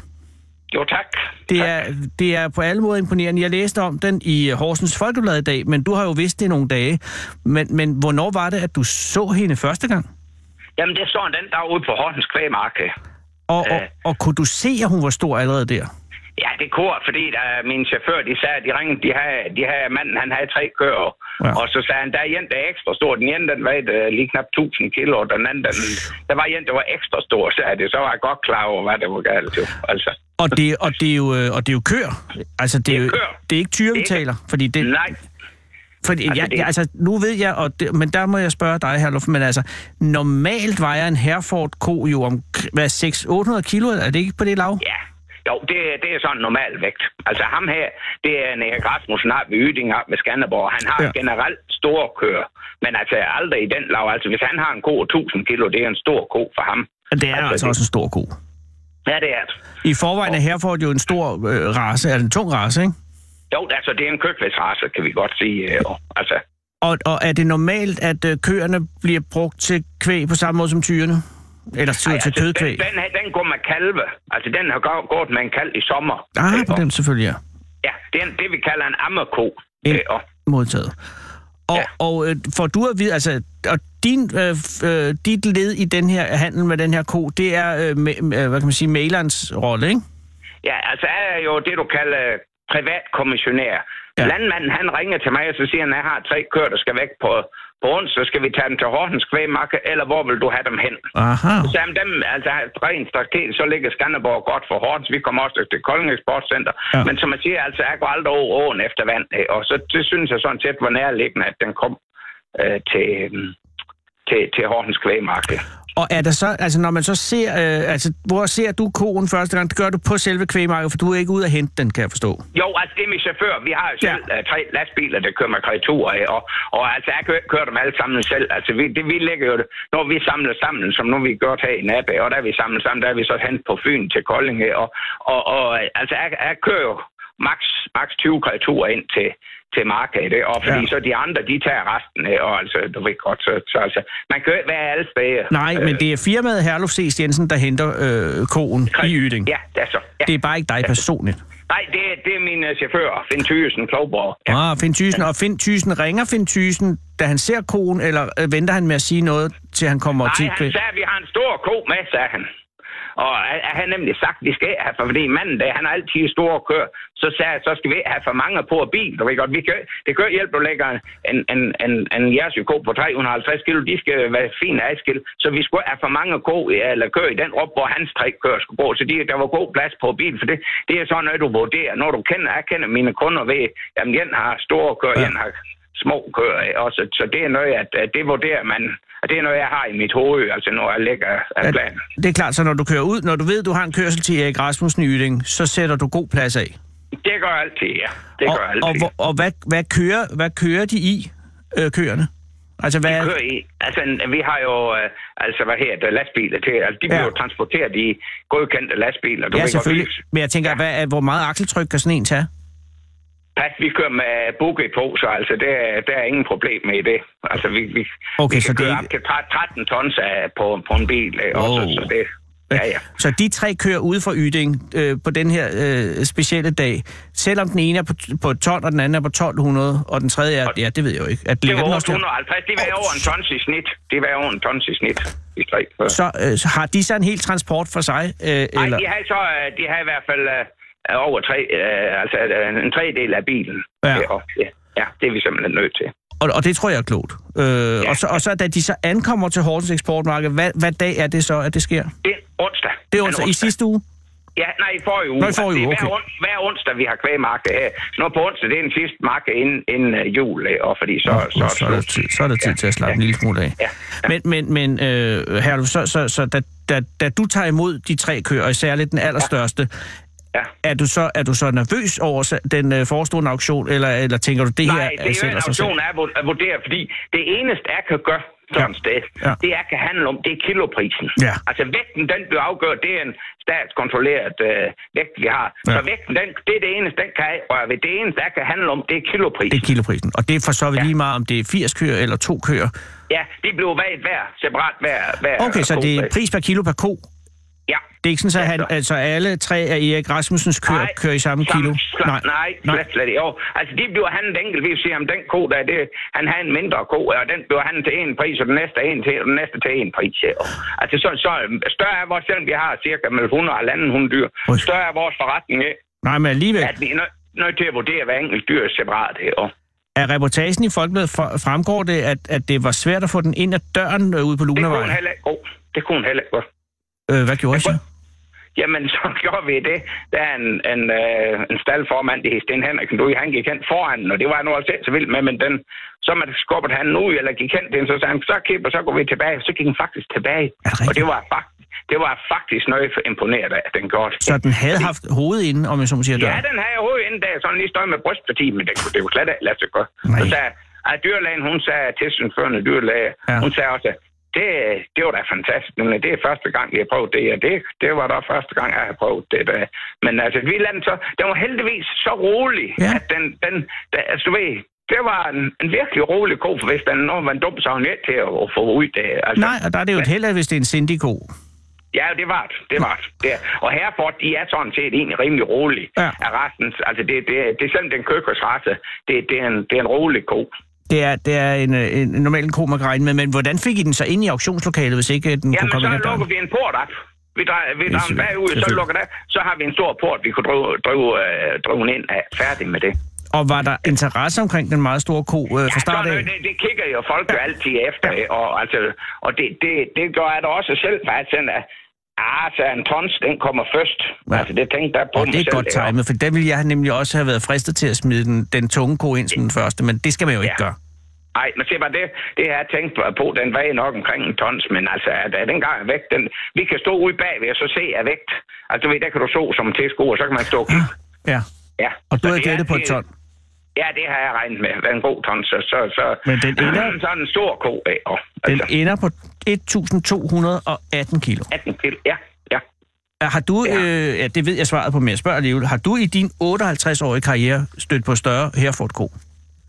Speaker 6: Jo, tak.
Speaker 2: Det er, det er på alle måder imponerende. Jeg læste om den i Horsens Folkeblad i dag, men du har jo vidst det i nogle dage. Men, men hvornår var det, at du så hende første gang?
Speaker 6: Jamen, det står en den dag ude på Horsens Kvægmark. øh.
Speaker 2: Og, og,
Speaker 6: Øh.
Speaker 2: og kunne du se, at hun var stor allerede der?
Speaker 6: Ja, det er kort, fordi der, min chauffør, de sagde, at de ringede, de havde, de havde manden, han havde tre køer.
Speaker 2: Ja.
Speaker 6: Ja. Og så sagde han, der er en, der er ekstra stor. Den ene, den vejede øh, lige knap 1000 kilo, og den anden, den, der var en, der var ekstra stor, sagde det. Så var jeg godt klar over, hvad det var galt. Jo. Altså,
Speaker 2: Og det, og det, er, jo, øh, og det er jo køer. Altså, det er,
Speaker 6: Det er
Speaker 2: jo,
Speaker 6: køer.
Speaker 2: det er ikke tyre, vi
Speaker 6: Det er-
Speaker 2: taler. Fordi det,
Speaker 6: nej,
Speaker 2: Fordi altså,
Speaker 6: Altså,
Speaker 2: jeg,
Speaker 6: det-
Speaker 2: jeg, altså, nu ved jeg, og det, men der må jeg spørge dig, Herluf, men altså, normalt vejer en Herford-ko jo om k- hvad, 600-800 kilo, er det ikke på det lav?
Speaker 6: ja. Jo, det, det er sådan normal vægt. Altså ham her, det er en Erik Rasmussen op ved Yding op med Skanderborg. Han har
Speaker 2: Ja.
Speaker 6: ja. generelt store køer, men altså aldrig i den lav. Altså hvis han har en ko 1000 kilo, det er en stor ko for ham.
Speaker 2: Ja, det er
Speaker 6: Altså,
Speaker 2: altså
Speaker 6: det-
Speaker 2: også en stor ko.
Speaker 6: Ja, det er det.
Speaker 2: I forvejen er Herford jo en stor øh, race, altså en tung race, ikke?
Speaker 6: Jo, altså det er en køkvæsrace, kan vi godt sige. øh, jo. Altså,
Speaker 2: Og, og er det normalt, at øh, køerne bliver brugt til kvæg på samme måde som tyrene? Eller til,
Speaker 6: ej,
Speaker 2: Ej, til
Speaker 6: altså, den,
Speaker 2: kødkvæg?
Speaker 6: den, her, den går med kalve. Altså den har gå- gået med en kalv i sommer.
Speaker 2: Ah,
Speaker 6: Øh,
Speaker 2: på
Speaker 6: og-
Speaker 2: den selvfølgelig, ja.
Speaker 6: Ja, det er en, det, vi kalder en ammeko.
Speaker 2: En-
Speaker 6: Øh, og-
Speaker 2: Modtaget. Og,
Speaker 6: Ja.
Speaker 2: og øh, får du at vide, altså, og din, øh, f- øh, dit led i den her handel med den her ko, det er, øh, me, øh, hvad kan man sige, malerens rolle, ikke?
Speaker 6: Ja, altså jeg er jo det, du kalder øh, privatkommissionær.
Speaker 2: Ja.
Speaker 6: Ja. Landmanden, han ringer til mig, og så siger han, at jeg har tre køer, der skal væk på, på ons, så skal vi tage dem til Horsens Kvægmarked, eller hvor vil du have dem hen?
Speaker 2: Aha.
Speaker 6: Så jamen, dem, altså rent strategisk, så ligger Skanderborg godt for Horsens. Vi kommer også til Kolding Eksportcenter.
Speaker 2: Ja.
Speaker 6: Ja. Men som man siger, altså, jeg går aldrig over åen efter vand. øh, Og så det synes jeg sådan set var nærliggende, at den kom øh, til, øhm, til, til Horsens Kvægmarked.
Speaker 2: Og er der så, altså når man så ser, øh, altså hvor ser du koen første gang, det gør du på selve kvægmarkedet, for du er ikke ude at hente den, kan jeg forstå.
Speaker 6: Jo, altså det er min chauffør. Vi har jo
Speaker 2: Ja.
Speaker 6: selv ja. tre lastbiler, der kører med kreaturer af, og, og altså jeg kører, kører dem alle sammen selv. Altså vi, det, vi lægger jo det, når vi samler sammen, som nu vi gjort her i Nabe, og der er vi samlet sammen, der er vi så hen på Fyn til Kolding, her, og, og, og øh, altså jeg, jeg kører jo max, max 20 kreaturer ind til, til markedet, ikke? og fordi
Speaker 2: Ja.
Speaker 6: ja. så de andre, de tager resten, ikke? og altså, du ved godt, så, så altså, man kan jo ikke være alle steder.
Speaker 2: Nej, men det er firmaet Herluf C. Jensen, der henter øh, koen i Yding.
Speaker 6: Ja, det er så. Ja.
Speaker 2: Det er bare ikke dig personligt.
Speaker 6: Nej, det, er- det er min øh, chauffør, Finn Thyesen Klogborg.
Speaker 2: Ja. Ah, Finn Thysen. Og Finn Thysen, ringer Finn Thysen, da han ser koen, eller øh, venter han med at sige noget, til han kommer til
Speaker 6: Nej, han
Speaker 2: kvæg?
Speaker 6: sagde, at vi har en stor ko med, sagde han. Og han- han har nemlig sagt, at vi skal ikke have for, fordi manden der, han har altid store køer. Så sagde jeg, så skal vi ikke have for mange på bil. Du ved godt, vi kan, det kan ikke hjælpe, at du lægger en, en, en, en jersey ko på 350 kilo. De skal være fint adskilt. Så vi skulle ikke have for mange ko, i- eller køer i den rup, hvor hans tre køer skulle gå. Så de, der var god plads på bil, for det, det er sådan noget, du vurderer. Når du kender, jeg kender mine kunder ved, jamen, en har store køer,
Speaker 2: Ja.
Speaker 6: ja. en har små køer. ikke? Og så, så det er noget, at, at det vurderer man. Og det er noget, jeg har i mit hoved, altså når jeg lægger af
Speaker 2: At-
Speaker 6: planen.
Speaker 2: Det er klart, så når du kører ud, når du ved, du har en kørsel til Erik Rasmussen i Yding, så sætter du god plads af.
Speaker 6: Det gør jeg altid, ja. Det
Speaker 2: og
Speaker 6: gør jeg altid.
Speaker 2: og, hvor- og hvad, hvad, kører, hvad kører de i, øh, køerne? Altså, hvad,
Speaker 6: kører i. Altså, vi har jo, øh, altså, hvad her, det, lastbiler til. Altså, de bliver
Speaker 2: Ja.
Speaker 6: jo transporteret i godkendte lastbiler. Du
Speaker 2: ja,
Speaker 6: ved godt,
Speaker 2: selvfølgelig.
Speaker 6: vi-
Speaker 2: Men jeg tænker, ja. hvad, er- hvor meget akseltryk kan sådan en tage?
Speaker 6: Pas, vi kører med boogie på, så altså, der, er- der er ingen problem med det. Altså, vi, vi,
Speaker 2: Okay,
Speaker 6: vi
Speaker 2: så
Speaker 6: kan
Speaker 2: det
Speaker 6: køre
Speaker 2: er
Speaker 6: op til tre- 13 tons af, på, på en bil. øh, Også,
Speaker 2: Wow.
Speaker 6: så det, ja, ja.
Speaker 2: Så de tre kører ude fra Yding øh, på den her øh, specielle dag, selvom den ene er på, på 12, og den anden er på 1200, og den tredje er, ja, det ved jeg jo ikke, at
Speaker 6: Det
Speaker 2: ligger
Speaker 6: var
Speaker 2: den også der?
Speaker 6: 850. Det var over en tons i snit. Det var over en tons i snit. I tre.
Speaker 2: Så, øh, så har de så en hel transport for sig? Øh,
Speaker 6: Nej,
Speaker 2: eller?
Speaker 6: de havde så, øh, de havde i hvert fald øh, over tre, øh, altså øh, en tredjedel af bilen.
Speaker 2: Ja.
Speaker 6: Øh, og, ja. ja, det er vi simpelthen nødt til.
Speaker 2: Og, og det tror jeg er klogt. Øh, ja. og, så, og så da de så ankommer til Horsens eksportmarked, hvad, hvad dag er det så, at det sker?
Speaker 6: Det er onsdag.
Speaker 2: Det er
Speaker 6: Den
Speaker 2: altså i sidste uge?
Speaker 6: Ja, nej, i forrige uge.
Speaker 2: Nå, i forrige
Speaker 6: Det er
Speaker 2: uge,
Speaker 6: hver,
Speaker 2: okay.
Speaker 6: on, hver onsdag, vi har kvægmarked her. Nå, på onsdag, det er den sidste marked inden, inden øh, jul, øh, og fordi så...
Speaker 2: Så, så, så, er der tid, så er der tid ja, til at slappe ja, en lille smule af.
Speaker 6: Ja,
Speaker 2: Men, men, men øh, Herluf, så, så, så da, da, da du tager imod de tre køer, og især lidt den allerstørste,
Speaker 6: ja.
Speaker 2: er du så, er du så nervøs over sa- den øh, forestående auktion, eller, eller tænker du, det her
Speaker 6: Nej, det er jo
Speaker 2: sælger
Speaker 6: en
Speaker 2: sig selv?
Speaker 6: auktion er at vur- at vurdere, fordi det eneste, jeg kan gøre sådan
Speaker 2: Ja.
Speaker 6: ja. sted,
Speaker 2: Ja.
Speaker 6: ja. det jeg kan handle om, det er kiloprisen.
Speaker 2: Ja.
Speaker 6: Altså vægten, den bliver afgjort, det er en statskontrolleret øh, vægt, vi har.
Speaker 2: Ja.
Speaker 6: Ja. Så vægten, den, det er det eneste, den kan røre ved. Det eneste, jeg kan handle om, det er
Speaker 2: Det
Speaker 6: kiloprisen.
Speaker 2: er kiloprisen. Og det er for så vidt
Speaker 6: Ja.
Speaker 2: lige meget, om det er 80 køer eller to køer.
Speaker 6: Ja, de bliver valgt hver, separat hver. hver
Speaker 2: Okay, så det er
Speaker 6: kostpris.
Speaker 2: pris per kilo per ko.
Speaker 6: Ja.
Speaker 2: Det er ikke sådan, at han,
Speaker 6: Ja, så-
Speaker 2: altså alle tre af Erik Rasmussens køer
Speaker 6: Nej,
Speaker 2: kører i samme kilo?
Speaker 6: Slam, nej, nej, slet, slet ikke. Jo, altså de bliver handlet enkeltvis, siger om den ko der, det, han har en mindre ko, og den bliver handlet til en pris, og den næste er en til, og den næste til en pris. Ja. Altså så, så øhm, større er vores, selvom vi har cirka mellem 100 og 100 dyr,
Speaker 2: Ui.
Speaker 6: større er vores forretning, ikke?
Speaker 2: Nej, men alligevel.
Speaker 6: at vi er nødt nødt til at vurdere hver enkelt dyr separat. Ja.
Speaker 2: Af reportagen i Folkebladet for- fremgår det, at, at det var svært at få den ind ad døren øh, ude på
Speaker 6: Det kunne hun
Speaker 2: Lunavejen.
Speaker 6: heller ikke. Oh, det kunne hun heller ikke. godt.
Speaker 2: Øh, hvad gjorde I så?
Speaker 6: Jamen, så gjorde vi det. Der er en, en, øh, en staldformand, det hed Sten Henriksen, du, han gik hen foran, og det var jeg nu altså ikke så vild med, men den, så man skubbet han ud, eller gik hen til den, så sagde han, så kip, og så går vi tilbage. Så gik han faktisk tilbage,
Speaker 2: Er det rigtigt?
Speaker 6: og det var faktisk, det var jeg faktisk noget for imponeret af, at den gjorde.
Speaker 2: Så den havde haft hovedet inde, om jeg så må sige, af
Speaker 6: Ja,
Speaker 2: døren?
Speaker 6: den havde jeg hovedet inden dag, sådan lige stået med brystparti, men det, kunne- det var slet ikke lade sig gøre.
Speaker 2: Nej.
Speaker 6: Så sagde at dyrlægen, hun sagde, tilsynsførende dyrlæge,
Speaker 2: Ja.
Speaker 6: ja. hun sagde også, det, det var da fantastisk, men det er første gang, vi har prøvet det, og det, det var da første gang, jeg har prøvet det. Der. Men altså, vi lader den så, den var heldigvis så rolig,
Speaker 2: Ja.
Speaker 6: ja. at den, den, den altså, du ved, det var en, en virkelig rolig ko, for hvis den nu var en dum, så var hun ikke til at, at få ud det. Altså,
Speaker 2: Nej, og der er det jo et held, at hvis det er en sindig ko.
Speaker 6: Ja, det var det. Det var det. det. er- Og Herford, de er sådan set egentlig rimelig rolig
Speaker 2: Ja.
Speaker 6: ja. af resten. Altså, det, det, det er selvom den køkkersrasse, det, det, er en, det er en rolig ko.
Speaker 2: Det er, det er en, øh, en normal ko, man kan regne med, men hvordan fik I den så ind i auktionslokalet, hvis ikke øh, den kunne
Speaker 6: Jamen,
Speaker 2: komme
Speaker 6: så
Speaker 2: ind ad døren?
Speaker 6: lukker vi en port op. Vi drejer,
Speaker 2: Det er
Speaker 6: vi drejer den
Speaker 2: selvfølgelig-
Speaker 6: bagud, så
Speaker 2: selvfølgelig.
Speaker 6: lukker det. Så har vi en stor port, vi kunne drive, drive, øh, drive den ind af. Færdig med det.
Speaker 2: Og var der interesse omkring den meget store ko øh, fra start
Speaker 6: sådan
Speaker 2: af?
Speaker 6: noget, det, det kigger jo folk jo altid efter, ikke? og, altså, og det, det, det gør jeg da også selv, faktisk. Sådan, at, ah, så en tons, den kommer først.
Speaker 2: Ja.
Speaker 6: Ja. Altså, det tænkte jeg på
Speaker 2: Og
Speaker 6: mig
Speaker 2: det er
Speaker 6: selv,
Speaker 2: godt
Speaker 6: ikke? Og-
Speaker 2: timet, for der ville jeg nemlig også have været fristet til at smide den, den tunge ko ind som den første, men det skal man jo ikke
Speaker 6: Ja.
Speaker 2: gøre.
Speaker 6: Nej, men se bare det, det har jeg tænkt på, den vejer nok omkring en tons, men altså, at, at den gang er vægt, den, vi kan stå ude bagved og så se er vægt. Altså, du ved, der kan du så som til sko, og så kan man stå og kigge.
Speaker 2: Ja,
Speaker 6: Ja.
Speaker 2: Ah, og du
Speaker 6: Så
Speaker 2: havde
Speaker 6: det er-
Speaker 2: gættet på et
Speaker 6: det-
Speaker 2: ton.
Speaker 6: Ja, det har jeg regnet med. Hvad en god ton, så... så, så
Speaker 2: Men den ender-
Speaker 6: Så er den stor ko af, og,
Speaker 2: Den
Speaker 6: altså,
Speaker 2: ender på 1.218 kilo.
Speaker 6: 18 kilo. Ja, ja.
Speaker 2: Har du,
Speaker 6: Ja.
Speaker 2: øh, ja, det ved jeg svaret på, men jeg spørger alligevel, har du i din 58-årige karriere stødt på større herford ko?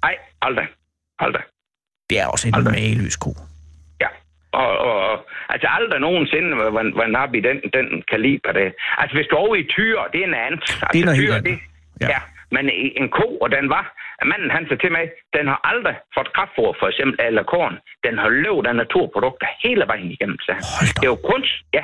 Speaker 6: Nej, aldrig. Aldrig.
Speaker 2: Det er også en
Speaker 6: Aldrig.
Speaker 2: mageløs ko.
Speaker 6: Ja. Og, og, og, altså aldrig nogensinde var, var, var nap i den, den kaliber. Det. Altså hvis du er over i tyre, det er en anden. Altså,
Speaker 2: Det er noget helt
Speaker 6: tyre,
Speaker 2: andet. Ja.
Speaker 6: Ja. ja. Men i- en ko, og den var, at manden han sagde til mig, den har aldrig fået kraftfor, for eksempel, eller korn. Den har løbet af naturprodukter hele vejen igennem, sagde han.
Speaker 2: Hold da
Speaker 6: Det er jo kunst, ja.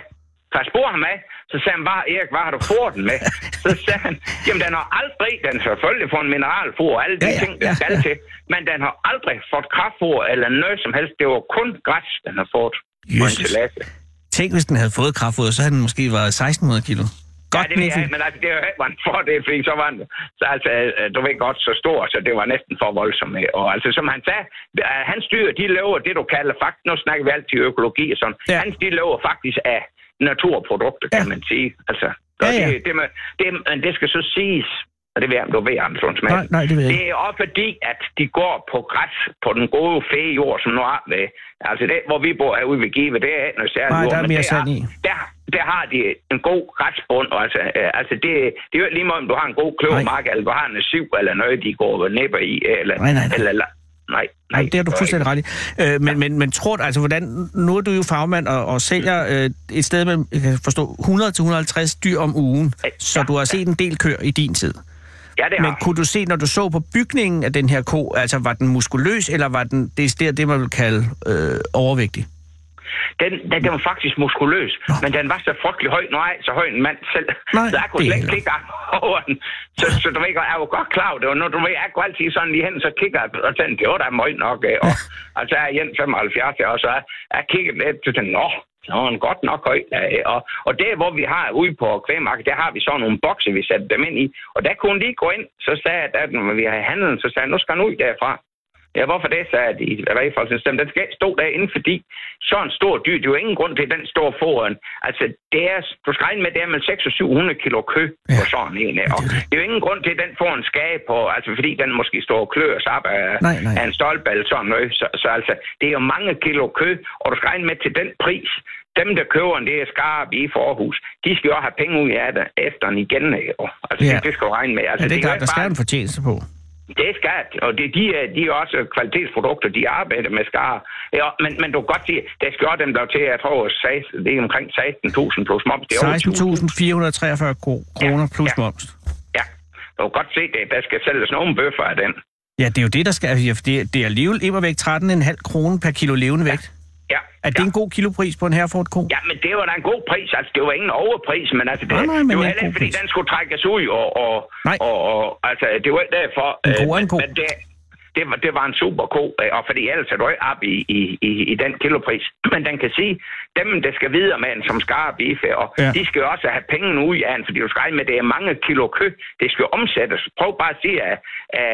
Speaker 6: Så jeg spurgte ham af, så sagde han bare, Erik, hvad har du fået den med? Så sagde han, jamen den har aldrig, den har selvfølgelig fået en mineralfor og alle de
Speaker 2: Ja,
Speaker 6: ja,
Speaker 2: ja,
Speaker 6: ja, ting, den
Speaker 2: ja,
Speaker 6: ja, skal
Speaker 2: ja.
Speaker 6: ja. til, men den har aldrig fået kraftfor eller noget som helst. Det var kun græs, den har fået. på en
Speaker 2: Jesus.
Speaker 6: enchilada.
Speaker 2: Tænk, hvis den havde fået kraftfoder, så havde den måske været 1600 kilo.
Speaker 6: Ja,
Speaker 2: Godt,
Speaker 6: det ved jeg,
Speaker 2: Miffy.
Speaker 6: ikke, men altså, det var ikke en fordel, fordi så var den, så altså, øh, du ved godt, så stor, så det var næsten for voldsomt. ikke? Og altså, som han sagde, øh, hans dyr, de lever det, du kalder faktisk, nu snakker vi altid økologi og sådan,
Speaker 2: Ja.
Speaker 6: ja. hans, de lever faktisk af naturprodukter, kan
Speaker 2: Ja.
Speaker 6: man sige. Altså,
Speaker 2: Ja,
Speaker 6: og
Speaker 2: ja.
Speaker 6: Det, det, med, det, men det skal så siges, og det ved jeg, om du ved, Anders Lund Madsen.
Speaker 2: Nej, nej, det ved jeg ikke.
Speaker 6: Det er også fordi, at de går på græs på den gode fæjord, som nu har med. Altså, det, hvor vi bor herude ved Give, det er ikke noget særligt.
Speaker 2: Nej,
Speaker 6: jord,
Speaker 2: der er
Speaker 6: men
Speaker 2: mere
Speaker 6: det er-
Speaker 2: sand i.
Speaker 6: der, der har de en god græsbund. og Altså, øh, altså det, det er jo ikke lige meget, om du har en god kløvermark, eller du har en syv, eller noget, de går og nipper i. Eller,
Speaker 2: Nej, nej, nej.
Speaker 6: Eller, eller, nej, nej,
Speaker 2: Nej, det har du fuldstændig ret i. Øh, men, men, men tror du, altså hvordan, nu er du jo fagmand og, og sælger øh, et sted mellem, jeg kan forstå, 100-150 dyr om ugen,
Speaker 6: Ja,
Speaker 2: så du har set en del køer i din tid.
Speaker 6: Ja, det
Speaker 2: Men
Speaker 6: har.
Speaker 2: kunne du se, når du så på bygningen af den her ko, altså var den muskuløs, eller var den det, der, det man vil kalde øh, overvægtig?
Speaker 6: Altså, Den, den, den var faktisk muskuløs, men den var så frygtelig høj. Nej, så høj en mand selv.
Speaker 2: Nej,
Speaker 6: så jeg kunne
Speaker 2: det er
Speaker 6: slet ikke
Speaker 2: heller-
Speaker 6: kigge over den. Så, så du ved godt, jeg var godt klar over det. Og når du ved, jeg kunne altid sådan lige hen, så kigger jeg, og altså, tænkte, det var da møg nok. øh, Og, og så er jeg igen 75, og så jeg, jeg kiggede lidt, og tænkte, nå, Nå, men godt nok højt. øh, Og, og der, hvor vi har ude på kvægmarkedet, der har vi så nogle bokse, vi satte dem ind i. Og der kunne de lige gå ind, så sagde jeg, at når vi har handlet, så sagde jeg, nu skal han ud derfra. Ja, hvorfor det, sagde de i erhvervsfolksystemet. Den skal ikke stå derinde, fordi så en stor dyr, det er jo ingen grund til, at den står foran. Altså, det er, du skal regne med, det er med 600-700 kilo kød ja. på sådan en. her. Og det er jo ingen grund til, at den får en skade på, altså fordi den måske står og klør sig op af,
Speaker 2: Nej, nej.
Speaker 6: af en stolpe eller sådan noget. Så, så altså, det er jo mange kilo kød, og du skal regne med til den pris. Dem, der køber en det er skarp i forhus, de skal jo også have penge ud af det efter den igen. ikke? Og, Altså,
Speaker 2: Ja.
Speaker 6: ja. det, det, skal du regne med. Altså,
Speaker 2: Ja, det er
Speaker 6: kan
Speaker 2: klart,
Speaker 6: ikke
Speaker 2: der skal
Speaker 6: bare-
Speaker 2: en fortjeneste på.
Speaker 6: det er skat, og det, de, er, de er også kvalitetsprodukter, de arbejder med skar. Ja, men, men du kan godt sige, der skal også dem der til, jeg tror, 16, det er omkring 16.000 plus moms. Det er over 20.000.
Speaker 2: 16.443 ko- kroner plus
Speaker 6: ja.
Speaker 2: moms.
Speaker 6: Ja, du kan godt se, det, der skal sælges nogle bøffer af den.
Speaker 2: Ja, det er jo det, der skal... altså, ja, for Det, det er alligevel immer væk 13,5 kroner per kilo levende vægt.
Speaker 6: Ja,
Speaker 2: Er det
Speaker 6: ja.
Speaker 2: en god kilopris på en herford ko?
Speaker 6: Ja, men det var da en god pris. Altså, det var ingen overpris, men altså, det,
Speaker 2: Nej, nej, men
Speaker 6: det var
Speaker 2: en
Speaker 6: heller ikke,
Speaker 2: god
Speaker 6: fordi
Speaker 2: pris.
Speaker 6: den skulle trækkes ud, og, og,
Speaker 2: Nej.
Speaker 6: og, og altså, det var ikke derfor. øh,
Speaker 2: En ko er en
Speaker 6: men,
Speaker 2: ko.
Speaker 6: men det, det, var, det var en super ko, øh, og fordi ellers er du ikke op i, i, i, i den kilopris. Men den kan sige, dem, der skal videre med en, som skarp bife, og
Speaker 2: Ja.
Speaker 6: ja. de skal jo også have pengene ud af den, fordi du skal regne med, at det er mange kilo kød, det skal jo omsættes. Prøv bare at sige, at, at,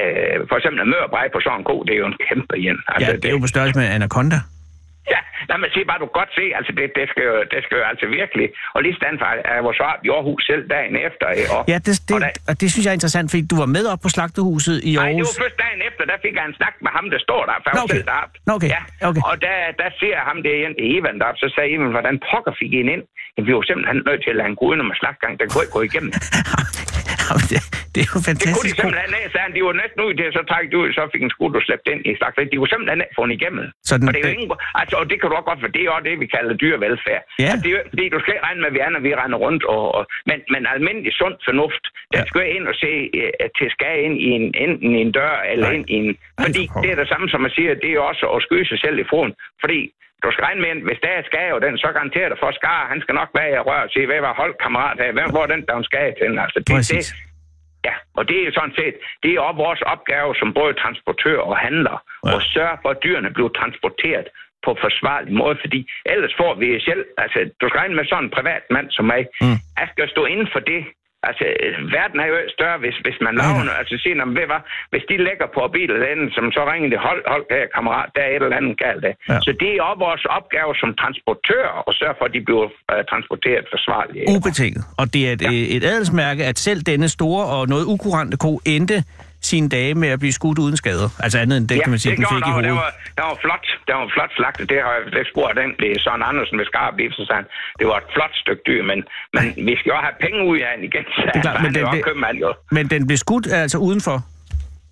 Speaker 6: at for eksempel en mørbrej på sådan en ko, det er jo en kæmpe Altså, igen.
Speaker 2: Ja, Altså, det er jo på størrelse med anaconda.
Speaker 6: Ja, nej, men se bare, du kan godt se, altså det, det, skal, jo, det skal jo altså virkelig. Og lige stand for, at vores svar i Aarhus selv dagen efter. ikke? Og,
Speaker 2: Ja, det, det,
Speaker 6: og da,
Speaker 2: og det synes jeg er interessant, fordi du var med op på slagtehuset i
Speaker 6: nej, det
Speaker 2: Aarhus.
Speaker 6: var først dagen efter, der fik jeg en snak med ham, der står der, for jeg
Speaker 2: Nå,
Speaker 6: var
Speaker 2: okay.
Speaker 6: selv deroppe.
Speaker 2: Nå, okay.
Speaker 6: Ja.
Speaker 2: Okay.
Speaker 6: Og der, der ser jeg ham der igen, Evan deroppe, så sagde Evan, hvordan pokker fik I en ind? Jamen, vi var simpelthen nødt til at lade en gå udenom og slagtgang, der kunne ikke gå igennem.
Speaker 2: Jamen, det, det er jo
Speaker 6: Det kunne de
Speaker 2: fantastisk. god.
Speaker 6: simpelthen ikke, sagde han. De var næsten ud til, så trak de ud, så fik en skud og slæbt ind i slagtgang. De kunne simpelthen ikke få den igennem.
Speaker 2: Så den-
Speaker 6: og, det er jo ingen, altså, og det kan du også godt, for det er også det, vi kalder dyrevelfærd.
Speaker 2: Ja.
Speaker 6: Altså, det er jo, ikke, fordi du skal ikke regne med, at vi er, når vi render rundt. Og, og, men, men almindelig sund fornuft, der
Speaker 2: Ja.
Speaker 6: skal ind og se øh, til skade ind i en, enten i en dør eller
Speaker 2: Nej.
Speaker 6: ind i en... Fordi
Speaker 2: for pokker.
Speaker 6: det er det samme, som man siger, det er også at skyde sig selv i foden. Fordi du skal regne med, at hvis der er skade, og den så garanterer dig for skade, han skal nok være i rør og sige, hvad var holdkammerat her? Hvem var den, der var en skade til? Altså, det, det,
Speaker 2: Præcis.
Speaker 6: Ja, og det er jo sådan set, det er op vores opgave som både transportør og handler,
Speaker 2: Ja.
Speaker 6: ja. at sørge for, at dyrene bliver transporteret på forsvarlig måde, fordi ellers får vi selv, altså du skal regne med sådan en privat mand som mig,
Speaker 2: Mm.
Speaker 6: mm. jeg skal stå inden for det, altså øh, verden er jo ikke større, hvis, hvis man laver noget, altså siger, "Nå, men ved hvad, hvis de lægger på bilen derinde, som så ringer det, hold, hold her kammerat, der er et eller andet galt af.
Speaker 2: Ja.
Speaker 6: Ja. Så det er op vores opgave som transportør at sørge for, at de bliver øh, transporteret forsvarligt.
Speaker 2: Ubetinget. Og det er et, ja. et adelsmærke, at selv denne store og noget ukurante ko endte sine dage med at blive skudt uden skader. Altså andet end det, ja, kan man sige,
Speaker 6: det
Speaker 2: den
Speaker 6: gjorde
Speaker 2: fik i
Speaker 6: han, og
Speaker 2: hovedet.
Speaker 6: Det var, det var flot. Det var en flot slagte. Det har jeg det spurgt den det er Søren Andersen ved Skarp Biff, så sagde han, det var et flot stykke dyr, men, men vi skal jo også have penge ud af den igen, sagde
Speaker 2: klart,
Speaker 6: han,
Speaker 2: men
Speaker 6: men det,
Speaker 2: det-
Speaker 6: var
Speaker 2: det-
Speaker 6: købmand jo.
Speaker 2: Men den blev skudt altså udenfor.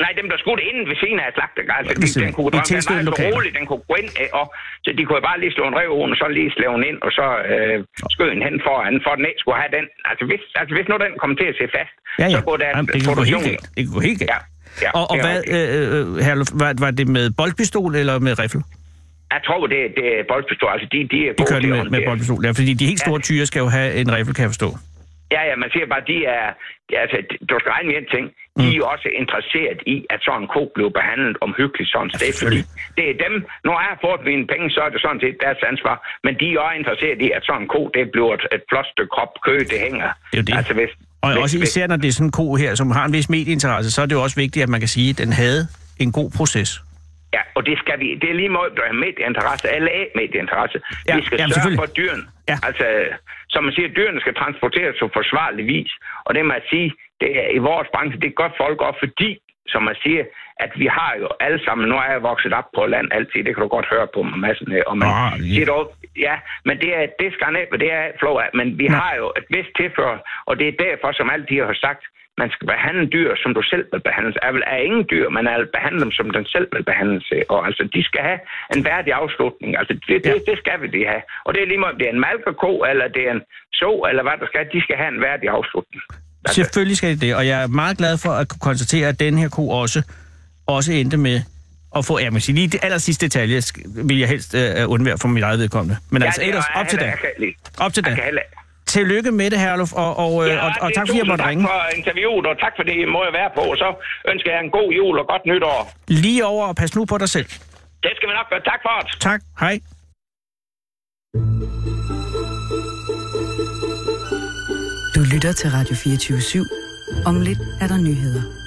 Speaker 6: Nej, dem, der skudte inden ved siden af slagten, altså,
Speaker 2: ved
Speaker 6: de,
Speaker 2: siden
Speaker 6: den
Speaker 2: af.
Speaker 6: kunne
Speaker 2: I
Speaker 6: drømme, den
Speaker 2: tilstødende
Speaker 6: var så
Speaker 2: lokaler.
Speaker 6: rolig, den kunne gå ind, øh, og så de kunne jo bare lige slå en rev under, så lige slå den ind, og så øh, skød den hen foran, for den ikke skulle have den. Altså hvis, altså, hvis nu den kom til at se fast,
Speaker 2: Ja, ja.
Speaker 6: så går der
Speaker 2: Jamen, det kan gå helt
Speaker 6: produktion.
Speaker 2: galt. Det kan gå helt galt.
Speaker 6: Ja, ja,
Speaker 2: og og
Speaker 6: det er
Speaker 2: hvad,
Speaker 6: rigtigt.
Speaker 2: øh, øh, Herluf, var, var det med boldpistol eller med riffel?
Speaker 6: Jeg tror, det, det er boldpistol. Altså, de, de er
Speaker 2: De
Speaker 6: gode
Speaker 2: kørte
Speaker 6: til
Speaker 2: med,
Speaker 6: at
Speaker 2: med
Speaker 6: håndtere.
Speaker 2: boldpistol, ja, fordi de helt store
Speaker 6: Ja.
Speaker 2: tyre skal jo have en riffel, kan jeg forstå.
Speaker 6: Ja, ja, man siger bare, de er, altså, du skal regne med en ting, de er jo
Speaker 2: Mm.
Speaker 6: også interesseret i, at sådan en ko bliver behandlet omhyggeligt sådan sted, fordi det er dem, når jeg har fået mine penge, så er det sådan set deres ansvar, men de er også interesseret i, at sådan en ko, det bliver et, et flot stykke krop, kø, det hænger.
Speaker 2: Det er jo det.
Speaker 6: Altså, hvis,
Speaker 2: Og
Speaker 6: hvis,
Speaker 2: også
Speaker 6: hvis-
Speaker 2: især når det er sådan en ko her, som har en vis medieinteresse, så er det jo også vigtigt, at man kan sige, at den havde en god proces.
Speaker 6: Ja, og det skal vi, det er lige måde, der er medieinteresse, eller af medieinteresse.
Speaker 2: Ja,
Speaker 6: Ja, vi skal
Speaker 2: jamen,
Speaker 6: sørge
Speaker 2: selvfølgelig.
Speaker 6: for dyrene.
Speaker 2: Ja.
Speaker 6: Altså, som man siger, dyrene skal transporteres på forsvarlig vis. Og det må jeg sige, det er, i vores branche, det gør folk også, fordi, som man siger, at vi har jo alle sammen, nu er jeg vokset op på land altid, det kan du godt høre på mig, massen her, og man
Speaker 2: Ah, ja.
Speaker 6: siger dog, ja, men det er, det skal han ikke, det er flow af, men vi har jo et vist tilfør, og det er derfor, som altid jeg har sagt, man skal behandle dyr, som du selv vil behandles. Er, vel- er ingen dyr, man er behandle dem, som den selv vil behandles. Og altså, de skal have en værdig afslutning. Altså, det, det, det skal vi de have. Og det er lige meget, om det er en malkeko, eller det er en så, eller hvad der skal. De skal have en værdig afslutning. Altså,
Speaker 2: Selvfølgelig skal det det, og jeg er meget glad for at kunne konstatere, at den her ko også, også endte med at få... Ja, man sige, lige det aller sidste detalje sk- vil jeg helst øh, undvære for mit eget vedkommende. Men ja, altså
Speaker 6: det er-
Speaker 2: ellers,
Speaker 6: jeg
Speaker 2: op til da.
Speaker 6: heller- jeg kan ikke lide-
Speaker 2: Op til
Speaker 6: jeg
Speaker 2: da.
Speaker 6: kan heller-
Speaker 2: Tillykke med det, Herluf, og, og, øh, og, og
Speaker 6: det er
Speaker 2: tak fordi jeg
Speaker 6: tusind
Speaker 2: måtte ringe.
Speaker 6: Tak for interviewet, og tak for det, I må jeg være på. Og så ønsker jeg en god jul og godt nytår.
Speaker 2: Lige over, og pas nu på dig selv.
Speaker 6: Det skal vi nok gøre. Tak for det.
Speaker 2: Tak, hej.
Speaker 1: Du lytter til Radio 24 /7. Om lidt er der nyheder.